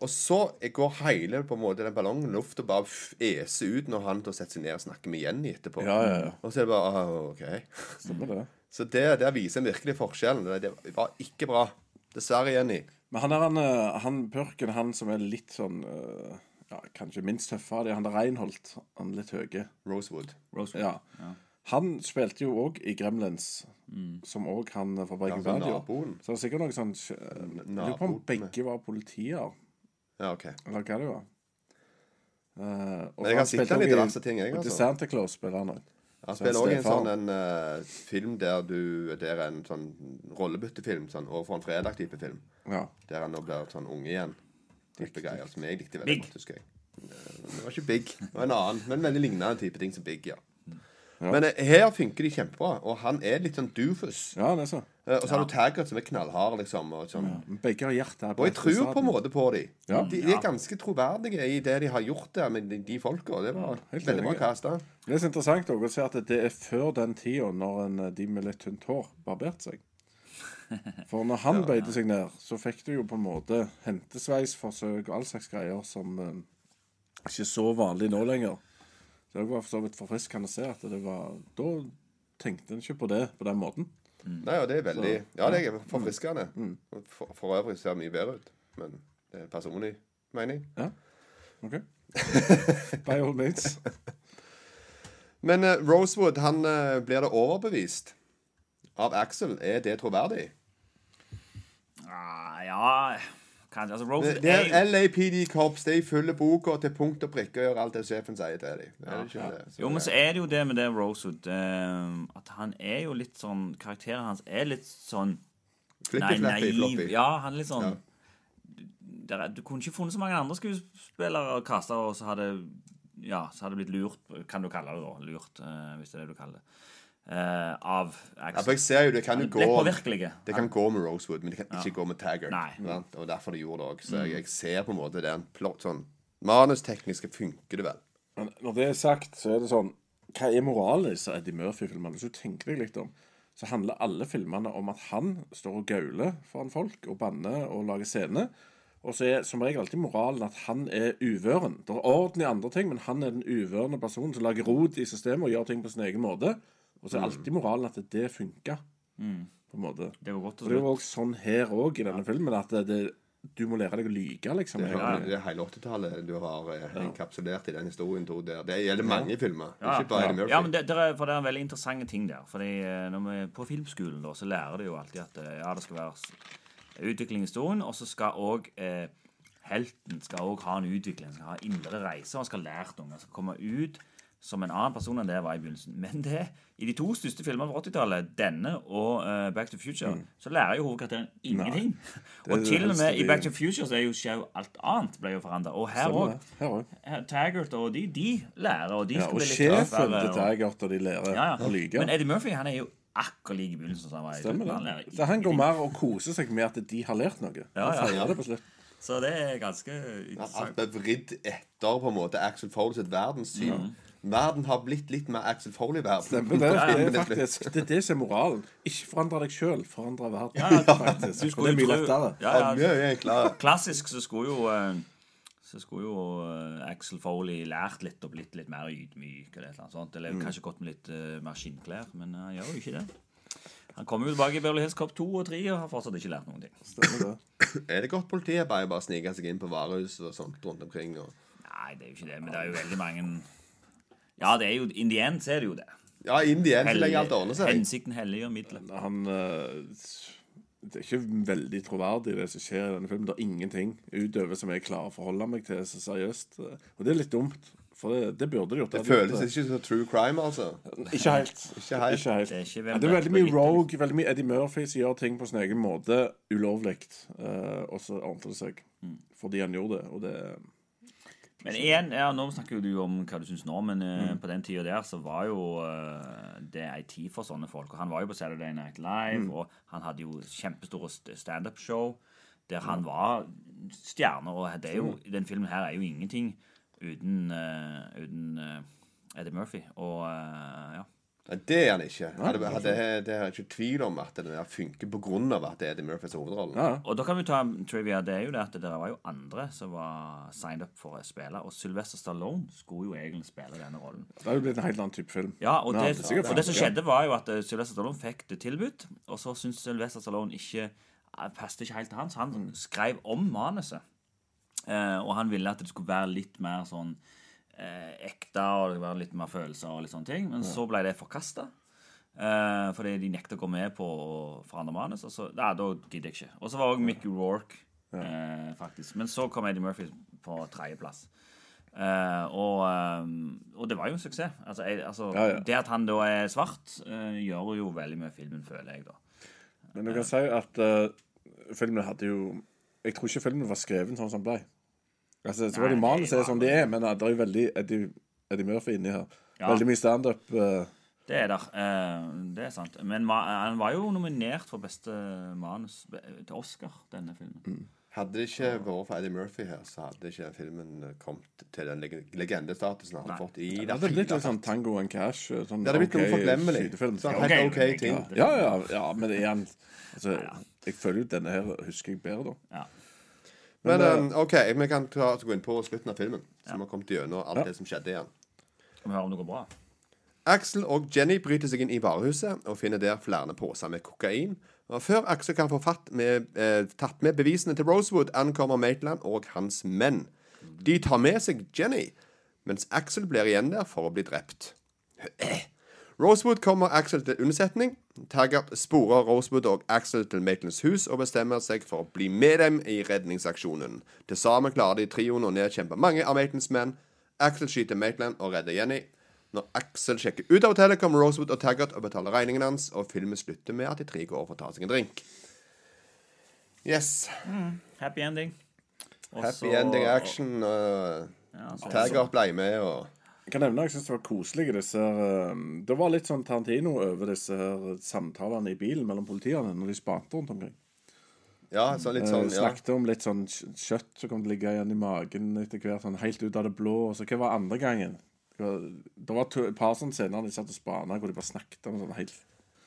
Og så går hele på en måte den ballongen i luft og bare f- eser ut når han da setter seg ned og snakker med Jenny etterpå.
Ja, ja, ja.
Og så er det bare ah, OK.
Mm. Stemmer det.
Så det, der viser en virkelig forskjellen. Det, det var ikke bra. Dessverre, Jenny.
Men han er han, eh, han purken, han som er litt sånn eh, ja, Kanskje minst tøffe av de. Han er Reinholdt. Han litt høye.
Rosewood.
Rosewood.
Ja. Han spilte jo òg i Gremlins, som òg han eh, fra Breaking
Ja, han
Bad
var
gjorde.
naboen.
Så det er sikkert noe sånn eh, Lurer på om
naboen.
begge var politier,
Ja, OK.
eller hva det var. Eh, og
Men jeg har
spilte
sett han i
også
diverse ting, jeg,
og til
altså.
Santa Claus spiller han òg.
Han spiller òg en sånn en, eh, film der du Det er en sånn rollebyttefilm. Sånn overfor en fredag-type film.
Ja.
Der han nå blir sånn unge igjen. Type greier som jeg likte veldig
Big.
godt, husker jeg. Eh, Det var ikke Big, det var en annen, men veldig lignende type ting som Big, ja. Men eh, her funker de kjempebra, og han er litt sånn doofus.
ja, det er så.
Eh, Og så har du Taggart som er knallhard, liksom. Og, sånn.
Men Begge har hjertet her.
og jeg tror på en
måte
måte på dem.
Ja.
De er ganske troverdige i det de har gjort der med de, de folka. Det var
helt
veldig bra
enig.
kasta.
Mm.
Det er så interessant også å se at det er før den tida når en, eh, de med litt tynt hår barberte seg. For når han beide seg ned, så fikk du jo på en måte hentesveisforsøk og all slags greier som eh, ikke er så vanlig nå lenger. Så Det var for så vidt forfriskende å se at det var Da tenkte en ikke på det på den måten.
Nei, og det er veldig Ja, det
Mm.
er forfriskende. Og For, for øvrig ser det mye bedre ut, men det er personlig mening.
Ja. OK? By all means.
Men eh, Rosewood, han eh, blir det overbevist av Axel. Er det troverdig?
Ah, ja kanskje, altså Rosewood
Det
er jo-
er LAPD Cops. De følger boka til punkt og prikke og gjør alt det sjefen sier til dem. Er det ikke det? Så
Jo, men
det-
så er det jo det med det Rosewood eh, At han er jo litt sånn Karakteren hans er litt sånn Nei,
Flippy, flappy,
naiv.
floppy.
Ja, han er litt sånn der, er- Du kunne ikke funnet så mange andre skuespillere og kaster, og så hadde Ja, så hadde det blitt lurt, kan du kalle det da. Lurt, eh, hvis det er det du kaller det. eh, av
Ja, for jeg ser jo, det kan jo
Han
gå
ble påvirkelige.
Det kan gå med Rosewood, men det kan ikke gå med Taggart.
Nei. Mm.
sant? Og derfor de gjorde det òg. Så jeg, jeg ser på en måte det er en plott sånn Manusteknisk funker det vel.
Men når det er sagt, så er det sånn Hva er moralen i disse Eddie Murphy-filmene? Hvis du tenker deg litt om, så handler alle filmene om at han står og gauler foran folk og banner og lager scener. Og så er som regel alltid moralen at han er uvøren. Det er orden i andre ting, men han er den uvørende personen som lager rot i systemet og gjør ting på sin egen måte. Og så er alltid moralen at det funka. På en måte.
Det går godt til
og det
slutt.
var også sånn her òg, i denne filmen, at det, det, du må lære deg å lyge, liksom.
Det er, det er hele 80-tallet du har eh, enkapsulert i den historien. Tor, der. Det gjelder mange filmer. Det er ikke bare Eddie Murphy.
Ja, men det, det, er, for det er en veldig interessante ting der. Fordi eh, når vi er på filmskolen, da, så lærer de jo alltid at eh, ja, det skal være s- utvikling i historien, og så skal òg eh, helten skal også ha en utvikling, skal ha en indre reise, og skal ha lært noe. Han Skal komme ut som en annen person enn det var i begynnelsen. Men det, i de to største filmene fra 80-tallet, denne og eh, Back to the Future, så lærer jo hovedkarakteren ingenting.
Mm. det
(laughs) og til og
helste
med i
de-
Back to the Future så er jo, skjer jo alt annet ble jo forandra. Og her
Stemmer
òg.
det. Her også.
Taggart og de, de lærer, og de
Ja,
skal
og
bli litt
sjefen
tøffere,
til
og-
Taggart og de lærer
ja, ja.
å lyge.
Men Eddie Murphy han er jo akkurat like i begynnelsen som han var i
Stemmer
slutten.
det.
Han er
Så han går
ingenting.
mer og koser seg med at de har lært noe.
Ja, ja.
Han feirer det på slutt.
Så det er ganske
Alt
interessant.
ble vridd etter på en måte Axel Foley sitt verdenssyn. Verden har blitt litt mer Axel Foley-verden. (laughs)
Men det, det er
til slutt.
faktisk det, er det som er moralen. Ikke forandre deg sjøl, forandre verden.
Ja, ja.
faktisk.
Du
Og det
skulle
er mye
jo tro-
lettere.
Ja, ja.
Mye er enklere.
Klassisk så skulle jo eh, så skulle jo eh, Axel Foley lært litt og blitt litt mer ydmyk. Eller, et eller, annet sånt. eller
Mm.
kanskje gått med litt eh, mer skinnklær, men han gjør jo ikke det. Han kommer jo tilbake i Beverly Hills Cop 2 og 3 og har fortsatt ikke lært noen ting.
Stemmer det.
Er det godt politiarbeid å bare snike seg inn på varehus og sånt rundt omkring? Og...
Nei, det er jo ikke det, men det er jo veldig mange Ja, det er jo, in the end så er det jo det.
Ja, inn igjen så lenge alt ordner seg.
Hensikten helliger middelet.
Han eh, det er ikke veldig troverdig, det som skjer i denne filmen. Det er ingenting utover som jeg klarer å forholde meg til så seriøst. Og det er litt dumt, for det, det burde de gjort.
Det føles ikke som true crime, altså.
Ikke helt.
Ikke helt.
Ikke helt.
Det er ikke
Ja, det er veldig mye
veldig-
Rogue, veldig mye Eddie Murphy som gjør ting på sin egen måte ulovlig. eh, og så ordner det seg
Mm.
fordi han gjorde det. Og det
Men igjen, ja, nå snakker jo du om hva du syns nå, men eh, på den tida der så var jo eh, det ei tid for sånne folk. Og han var jo på Saturday Night Live, og han hadde jo kjempestore st- standup-show der han var stjerne. Og det er jo, den filmen her er jo ingenting uten, eh, uten eh, Eddie Murphy. Og eh, ja.
Nei, Det er han ikke. Hadde, hadde, det er jeg ikke tvil om at den der funker på grunn av at det er Eddie Murphys hovedrolle.
Ja.
Og da kan vi ta en trivia. Det er jo det at det der var jo andre som var signed up for å spille, og Sylvester Stallone skulle jo egentlig spille denne rollen.
Det er jo blitt en helt annen type film.
Ja, og
Men han
det,
hadde sikkert
og det som
fått- ja.
skjedde, var jo at eh, Sylvester Stallone fikk det tilbudt, og så syntes Sylvester Stallone ikke eh, passet ikke helt til han, så han skrev om manuset. Eh, og han ville at det skulle være litt mer sånn eh, ekte, og det skulle være litt mer følelser og litt sånne ting, men så ble det forkasta. Eh, fordi de nekta å gå med på å forandre manus. Og så, nei, da gidder jeg ikke. Og så var òg Mickey Rourke, eh, faktisk. Men så kom Eddie Murphy på tredjeplass. Eh, og, eh, og det var jo en suksess. Altså, jeg, altså,
Ja, ja.
Det at han da er svart, eh, gjør jo veldig mye av filmen, føler jeg, da.
Men du kan si at eh, filmen hadde jo Jeg tror ikke filmen var skrevet sånn som den ble. Altså, så var det
Nei,
manus
det
er som
var-
de er, men eh, det er jo veldig Eddie, Eddie Murphy inni her.
Ja.
Veldig mye standup. Uh,
Det er der. eh, det er sant. Men ma han var jo nominert for beste manus be- til Oscar, denne filmen.
Mm. Hadde det ikke vært for Eddie Murphy her, så hadde ikke den filmen kommet til den leg- legendestatusen han
Nei.
har fått i
det hadde blitt litt sånn Tango and Cash. eh, Sånn
Det hadde blitt noe forglemmelig.
skytefilm.
Sånn
Ok,
helt OK
men-
ting.
Ja, ja, ja, men det er han altså, Jeg føler jo denne her husker jeg bedre, da.
Ja.
Men eh, OK, vi kan ta, gå inn på slutten av filmen, så vi har kommet gjennom alt det som skjedde igjen.
Skal vi høre om det går bra?
Axel og Jenny bryter seg inn i varehuset og finner der flere poser med kokain. Og Før Axel kan få fatt med, eh, tatt med bevisene til Rosewood, ankommer Maitland og hans menn. De tar med seg Jenny, mens Axel blir igjen der for å bli drept. Rosewood kommer Axel til unnsetning. Taggart sporer Rosewood og Axel til Maitlands hus og bestemmer seg for å bli med dem i redningsaksjonen. Til sammen klarer de trioen å nedkjempe mange av Maitlands menn. Axel skyter Maitland og redder Jenny. Når Axel sjekker ut av hotellet, kommer Rosewood og Taggart og betaler regningen hans, og filmen slutter med at de tre går over for å ta seg en drink. Yes.
Happy ending. Og
Happy
så-
ending action. og
Ja,
sånn
så-
Taggart ble med, og
Jeg kan nevne, jeg synes det var koselige disse her, eh, Det var litt sånn Tarantino over disse her samtalene i bilen mellom politiene når de spante rundt omkring.
Ja, så litt sånn,
Eh,
ja.
Snakket om litt sånn kj- kjøtt som kom til å ligge igjen i magen etter hvert, sånn helt ut av det blå. Og så hva var andre gangen? Det var- Det var to, et par sånne scener de satt og spana, hvor de bare snakket om sånn helt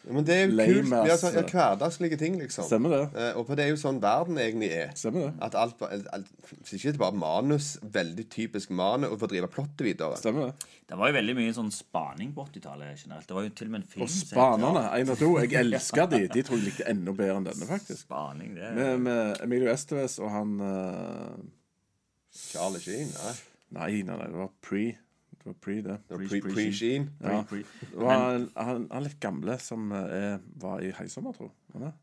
Men det er jo
Lame
kult. Det er
ass.
sånn, ja, hverdagslige ting, liksom.
Stemmer det.
Eh, og på det er jo sånn verden egentlig er.
Stemmer det.
At alt, ba- alt Hvis ikke det er bare manus, veldig typisk manus, og for å drive plottet videre.
Stemmer det?
Det var jo veldig mye sånn spaning på 80-tallet generelt. Det var jo til og med en film
Og
som-
spanerne, én og to. Jeg elsker de. De tror jeg likte enda bedre enn denne, faktisk.
Spaning, det
Med, Eh, med Emilio Estevez og han eh,
Charlie Sheen. Nei.
Nei, nei, nei, det var pre. Det var pre, det.
Det var
Preach,
pre- Pre-Sheen.
Ja.
Pre- pre-
Det var han, han, han litt gamle som eh, er, var i Heisommer, tror jeg. Eller?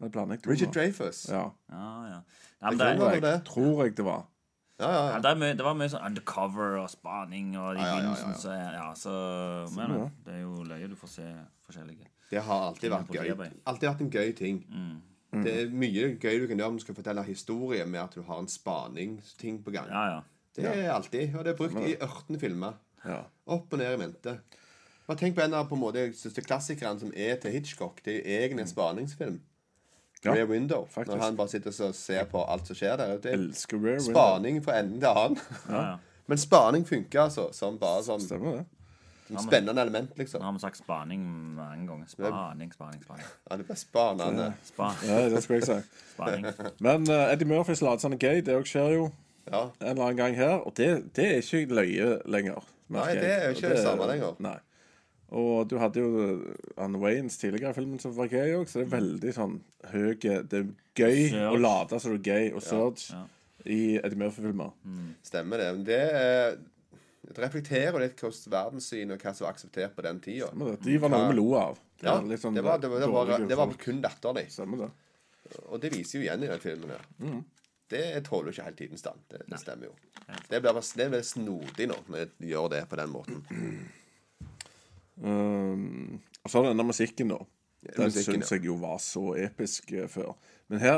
Eller blander jeg to
Richard
nå?
Dreyfus. Ja.
Ja.
Ja, ja. Nei, men
Jeg
det,
tror
Tror jeg,
det.
tror jeg det var.
Ja, ja,
ja, det, er mye, det var mye sånn undercover og spaning og i
Ja, ja, ja, ja.
begynnelsen, så ja, så Men ja, det er jo løye. Du får se forskjellige.
Det har alltid vært
Inne på
gøy. Mm.
Broadway.
Alltid vært en gøy ting. Det er mye gøy du kan gjøre om du skal fortelle historie med at du har en spaningsting på gang.
Ja, ja.
Det er alltid, og det er brukt i ørten filmer.
Ja.
Opp og ned i mente. Bare tenk på en av på en måte, jeg synes det klassikeren som er til Hitchcock. Det er jo egen en spaningsfilm.
Ja,
Rear Window.
faktisk.
Når han bare sitter og ser på alt som skjer der. Det er
Elsker Rear Window.
spaning fra enden til annen. (laughs)
ja.
Men spaning funker, altså. Som bare sånn
Stemmer det?
spennende element,
Nå
liksom.
har vi sagt spaning mange ganger. Spaning, spaning, spaning.
Ja, det blir spanende.
Ja,
Spa-
det skulle jeg si.
(laughs)
Spaning.
Men eh, Eddie Murphys latsende gay, det òg skjer jo
Ja.
en eller annen gang her. Og det, det er ikke løye lenger. merker
Nei, det er
jeg.
ikke
Og
det samme lenger.
Nei. Og du hadde jo eh, Anne Waynes tidligere i filmen som var gay òg, så det er veldig sånn høy Det er gøy
Surge.
å late som du er gay, og surge i Eddie Murphy-filmer.
Mm. Stemmer det. Men det, er- det reflekterer litt hvordan verdenssynet og hva som var akseptert på den tida.
Men det- De var noe vi lo av.
Ja,
litt sånn
det var, det var, det var,
dårlige
det var
folk.
kun latterlig.
Stemmer det.
Og det viser jo igjen i den filmen her. Det tåler jo ikke helt tidens stand. Det, det stemmer jo. Det blir, bare- det blir snodig nå når jeg gjør det på den måten.
Um, og så har du denne musikken, da. Den
musikken,
syns jeg jo var så episk eh, før. Men her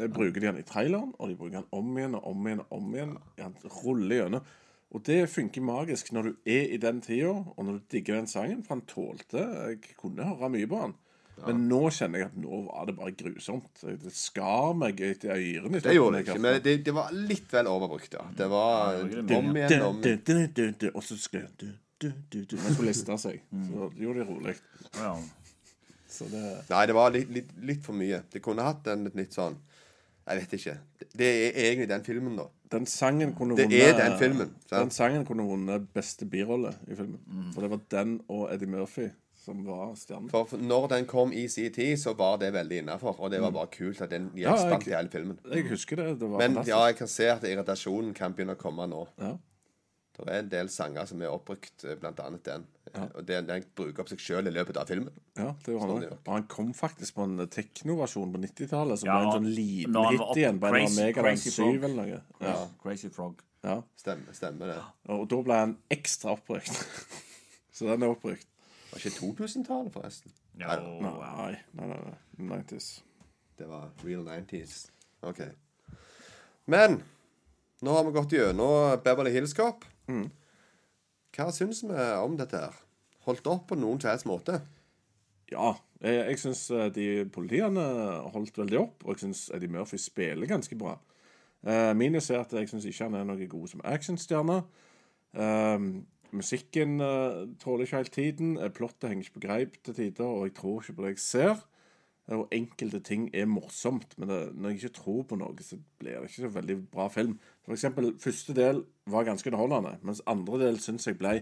eh, bruker de den i traileren, og de bruker den om igjen og om igjen. og om igjen. Han ruller gjennom. Og det funker magisk når du er i den tida, og når du digger den sangen. For han tålte Jeg kunne høre mye på han. Men nå kjenner jeg at nå var det bare grusomt. Det skar meg etter ørene.
Det gjorde det ikke, men det, det var litt vel overbrukt, ja. Det var om igjen om
Og så skrev du, du, du, du. Man skulle liste seg. Så gjorde de rolig.
Ja.
Så det
Nei, det var litt, litt, litt for mye. Det kunne hatt en et nytt sånn Jeg vet ikke. Det er egentlig den filmen, da.
Den sangen kunne
Det er den filmen, sant? Mm.
Den sangen kunne vunnet beste birolle i filmen. For det var den og Eddie Murphy som var stjernen.
For for når den kom i sin tid, så var det veldig innafor. Og det var bare kult at den
Ja,
gikk
jeg-
spant i hele filmen.
Jeg husker det. Det var
Men ja,
fantastisk.
jeg kan se at irritasjonen kan begynne å komme nå.
Ja.
Det er en del sanger som er oppbrukt, eh, blant annet den. Og den, den bruker opp seg sjøl i løpet av filmen.
Ja, det var han.
det nok.
Og han kom faktisk på en teknoversjon på 90-tallet. Så
Ja,
ble en
og
sånn liten
når han var
hit
oppe-
igjen. På en eller annen
Crazy-
Megadan
Crazy
7
Frog.
eller noe. Ja.
Crazy Frog.
Ja.
Stemmer, stemmer det.
Og da ble han ekstra opprykt. (laughs) så den er opprykt.
Var ikke 2000-tallet, forresten?
Ja,
Nei,
Nei, nei, nei. nei. 90s.
Det var real 90s. OK. Men nå har vi gått gjennom Beverly Hills Cop.
Mm.
Hva syns vi om dette her? Holdt opp på noen som helst måte?
Ja. Jeg, jeg syns eh, de politiene holdt veldig opp, og jeg syns Eddie Murphy spiller ganske bra. Eh, minus er at jeg syns ikke han er noe god som actionstjerne. Eh, musikken eh, tåler ikke helt tiden. eh, Plottet henger ikke på greip til tider, og jeg tror ikke på det jeg ser. Eh, Og enkelte ting er morsomt, men det, når jeg ikke tror på noe, så blir det ikke så veldig bra film. For eksempel, første del var ganske underholdende, mens andre del syns jeg ble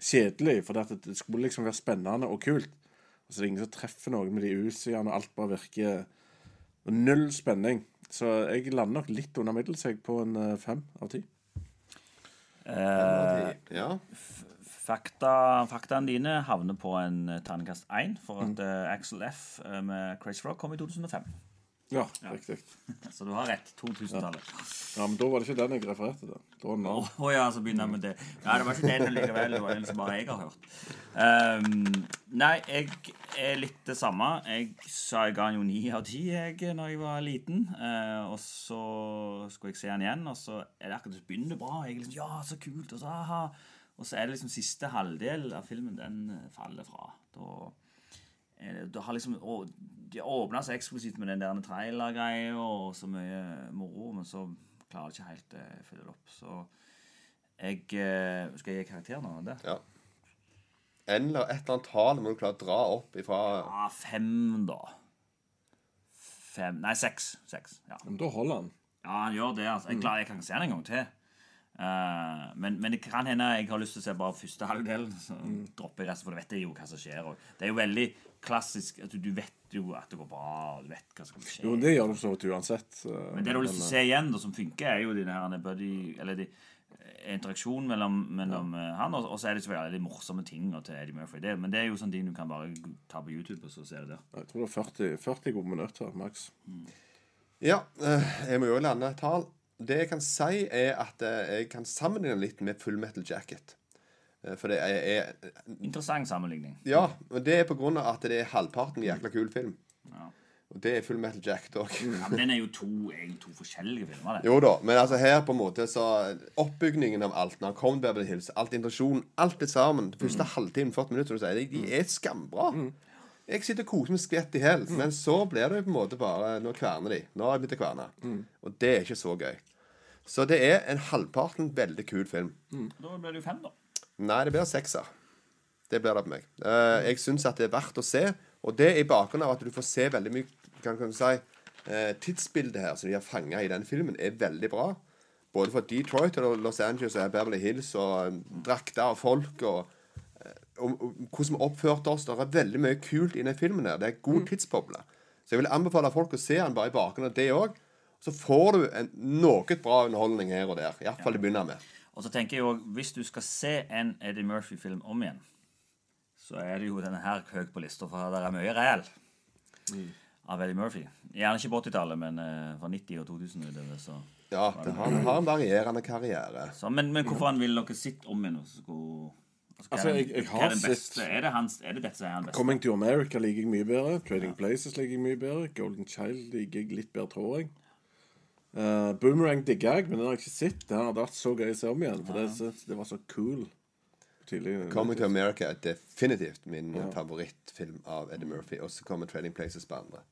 kjedelig, for det, det skulle liksom være spennende og kult. Så det er ingen som treffer noe med de usidene, og alt bare virker null spenning. Så jeg lander nok litt under middels jeg, på en eh, fem av ti.
Eh,
ja.
fakta, faktaene dine havner på en eh, terningkast 1 for
Mm.
at eh, Axel F eh, med Crazy Frog kom i 2005.
Ja, riktig.
Så du har rett. 2000-tallet.
Ja, Men da var det ikke den jeg refererte til. Da var den
Å
annen.
å ja, så begynner jeg med det. Nei, det var ikke den likevel. Det var den som bare jeg har hørt. Ehm, nei, jeg er litt det samme. Jeg sa jeg ga den jo ni av ti jeg når jeg var liten. eh, og så skulle jeg se den igjen, og så er det akkurat som begynner det bra. Jeg er liksom, ja, så kult, og så aha. Og så er det liksom siste halvdel av filmen, den eh, faller fra. Da Eh, Det har liksom å, Det åpna seg eksplosivt med den der trailer-greia og så mye moro, men så klarer det ikke helt eh, å fylle det opp. Så jeg eh, Skal jeg gi karakter nå? Det?
ja. Eller et eller annet tall må du klare å dra opp ifra
Ja, Ah, fem, da. Fem Nei, seks. Seks. Ja.
Men da holder han.
ja, han gjør det. altså. Jeg, er glad jeg kan ikke se den en gang til. Eh, men, men det kan hende jeg har lyst til å se bare første halvdelen. Så dropper jeg resten, for da vet jeg jo hva som skjer. Og det er jo veldig klassisk at du, du vet jo at det går bra. og Du vet hva som skjer.
Jo, men det gjør du for så vidt uansett. eh,
Men det du har lyst til å
men,
se igjen, da, som funker, er jo den her den buddy, eller de, eh, interaksjon mellom, mellom eh, han, og og så er det selvfølgelig alle de morsomme tingene til Eddie Murphy. Det, men det er jo sånne ting du kan bare ta på YouTube, og så se det der.
eh, Jeg tror det var 40, 40 gode minutter, maks.
Ja, eh, jeg må jo lande et tall. Det jeg kan si, er at eh, jeg kan sammenligne litt med Full Metal Jacket. Eh, For det er, er
Interessant sammenligning.
Ja, men det er på grunn av at det er halvparten jækla kul film.
Ja.
Og det er Full Metal Jacket òg.
Ja, men den er jo to, egentlig to forskjellige filmer, det.
Jo da, men altså her på en måte så Oppbygningen av alt når han kom til Beverly Hills, alt intensjonen, alt det sammen Den første halvtimen, 40 minutter, som du sier, de, de er skambra. Jeg sitter og koser meg skvett i hjel, men så blir det jo på en måte bare Nå kverner de. Nå har jeg begynt å kverne. Og det er ikke så gøy. Så det er en halvparten veldig kul film.
Da blir det jo fem, da.
Nei, det blir sekser. Det blir det på meg. Eh, jeg syns at det er verdt å se, og det er i bakgrunn av at du får se veldig mye kan, kan du si, eh, Tidsbildet her som de har fanga i den filmen, er veldig bra. Både fra Detroit og Los Angeles og Beverly Hills og eh, drakter og folk og eh, om, om hvordan vi oppførte oss. Det er veldig mye kult i den filmen. her. Det er god tidsboble. Så jeg vil anbefale folk å se den bare i bakgrunn av det òg. Så får du en, noe bra underholdning her og der. Iallfall til å begynne med.
Og så tenker jeg jo, hvis du skal se en Eddie Murphy-film om igjen, så er det jo denne her høyt på lista, for der er mye reell. av Eddie Murphy. Gjerne ikke på 80-tallet, men eh, fra 90- og 2000 utover. Så.
Ja, det har, han har en varierende karriere.
Så, men, men hvorfor han vil dere sitte om igjen? og så skulle- Altså, hva
Altså,
er den-
jeg- jeg
hva
har
er den beste?
sett-
Er det, hans, er det dette som er han beste?
Coming to America liker jeg mye bedre. Trading Places liker jeg mye bedre. Golden Child liker jeg litt bedre, tror jeg. Eh, Boomerang digger jeg, men den har jeg ikke sett. Den har vært så gøy å se om igjen, for det, synes- det var så cool. Tidlig,
Coming to America er definitivt min favorittfilm av Eddie Murphy. Og så kommer Trading Places på andre.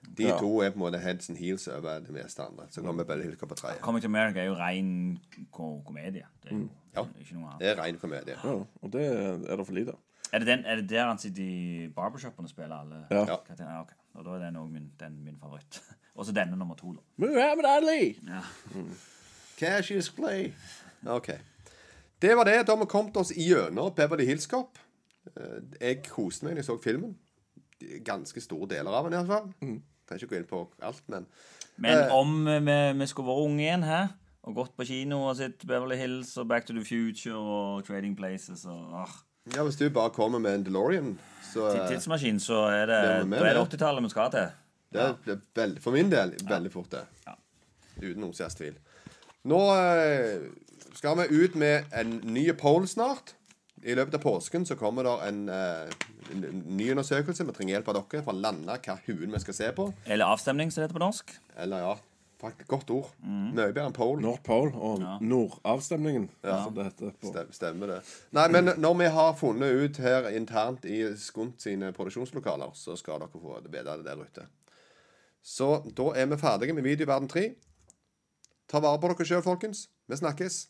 De
Ja.
to er på en måte heads and heels over det meste andre. Så kommer Bell Hilker på tredje.
Coming to America er jo ren ko komedie. Det er jo
Ja.
ikke noe annet.
Det er ren komedie.
Ja, og det er det for lite av.
Er det, den, er det der han sitter i barbershopen og spiller alle
Ja.
Ja.
karakterene? Ja, ok. Og da er den òg min, den min favoritt. (laughs) Og så denne nummer to, da.
Muhammad Ali!
Cassius Clay. OK. Det var det. Da har vi kommet oss gjennom Beverly Hills Cop. Eh, Jeg koste meg da jeg så filmen. Ganske store deler av den, iallfall.
Mm.
Trenger ikke gå inn på alt, men
Men om eh, vi, vi skulle vært unge igjen hæ? og gått på kino og sett Beverly Hills og Back to the Future og Trading Places og ah.
Ja, hvis du bare kommer med en DeLorean, så
Til
eh,
Tidsmaskin, så er det,
Det er med
da er det
det.
80-tallet vi skal til.
Det ble veldig, for min del veldig fort det.
Ja.
Uten noen særlig tvil. Nå eh, skal vi ut med en ny poll snart. I løpet av påsken så kommer det en, eh, en en ny undersøkelse. Vi trenger hjelp av dere for å lande hva huen vi skal se på.
Eller avstemning, som det heter på norsk.
Eller ja, faktisk godt ord.
Mm.
Mye bedre enn poll.
North Pole og Nordavstemningen, som det heter. På.
Stem- Stemmer det. Nei, men når vi har funnet ut her internt i Skunt sine produksjonslokaler, så skal dere få vite det der ute. Så da er vi ferdige med Videoverden 3. Ta vare på dere sjøl, folkens. Vi snakkes.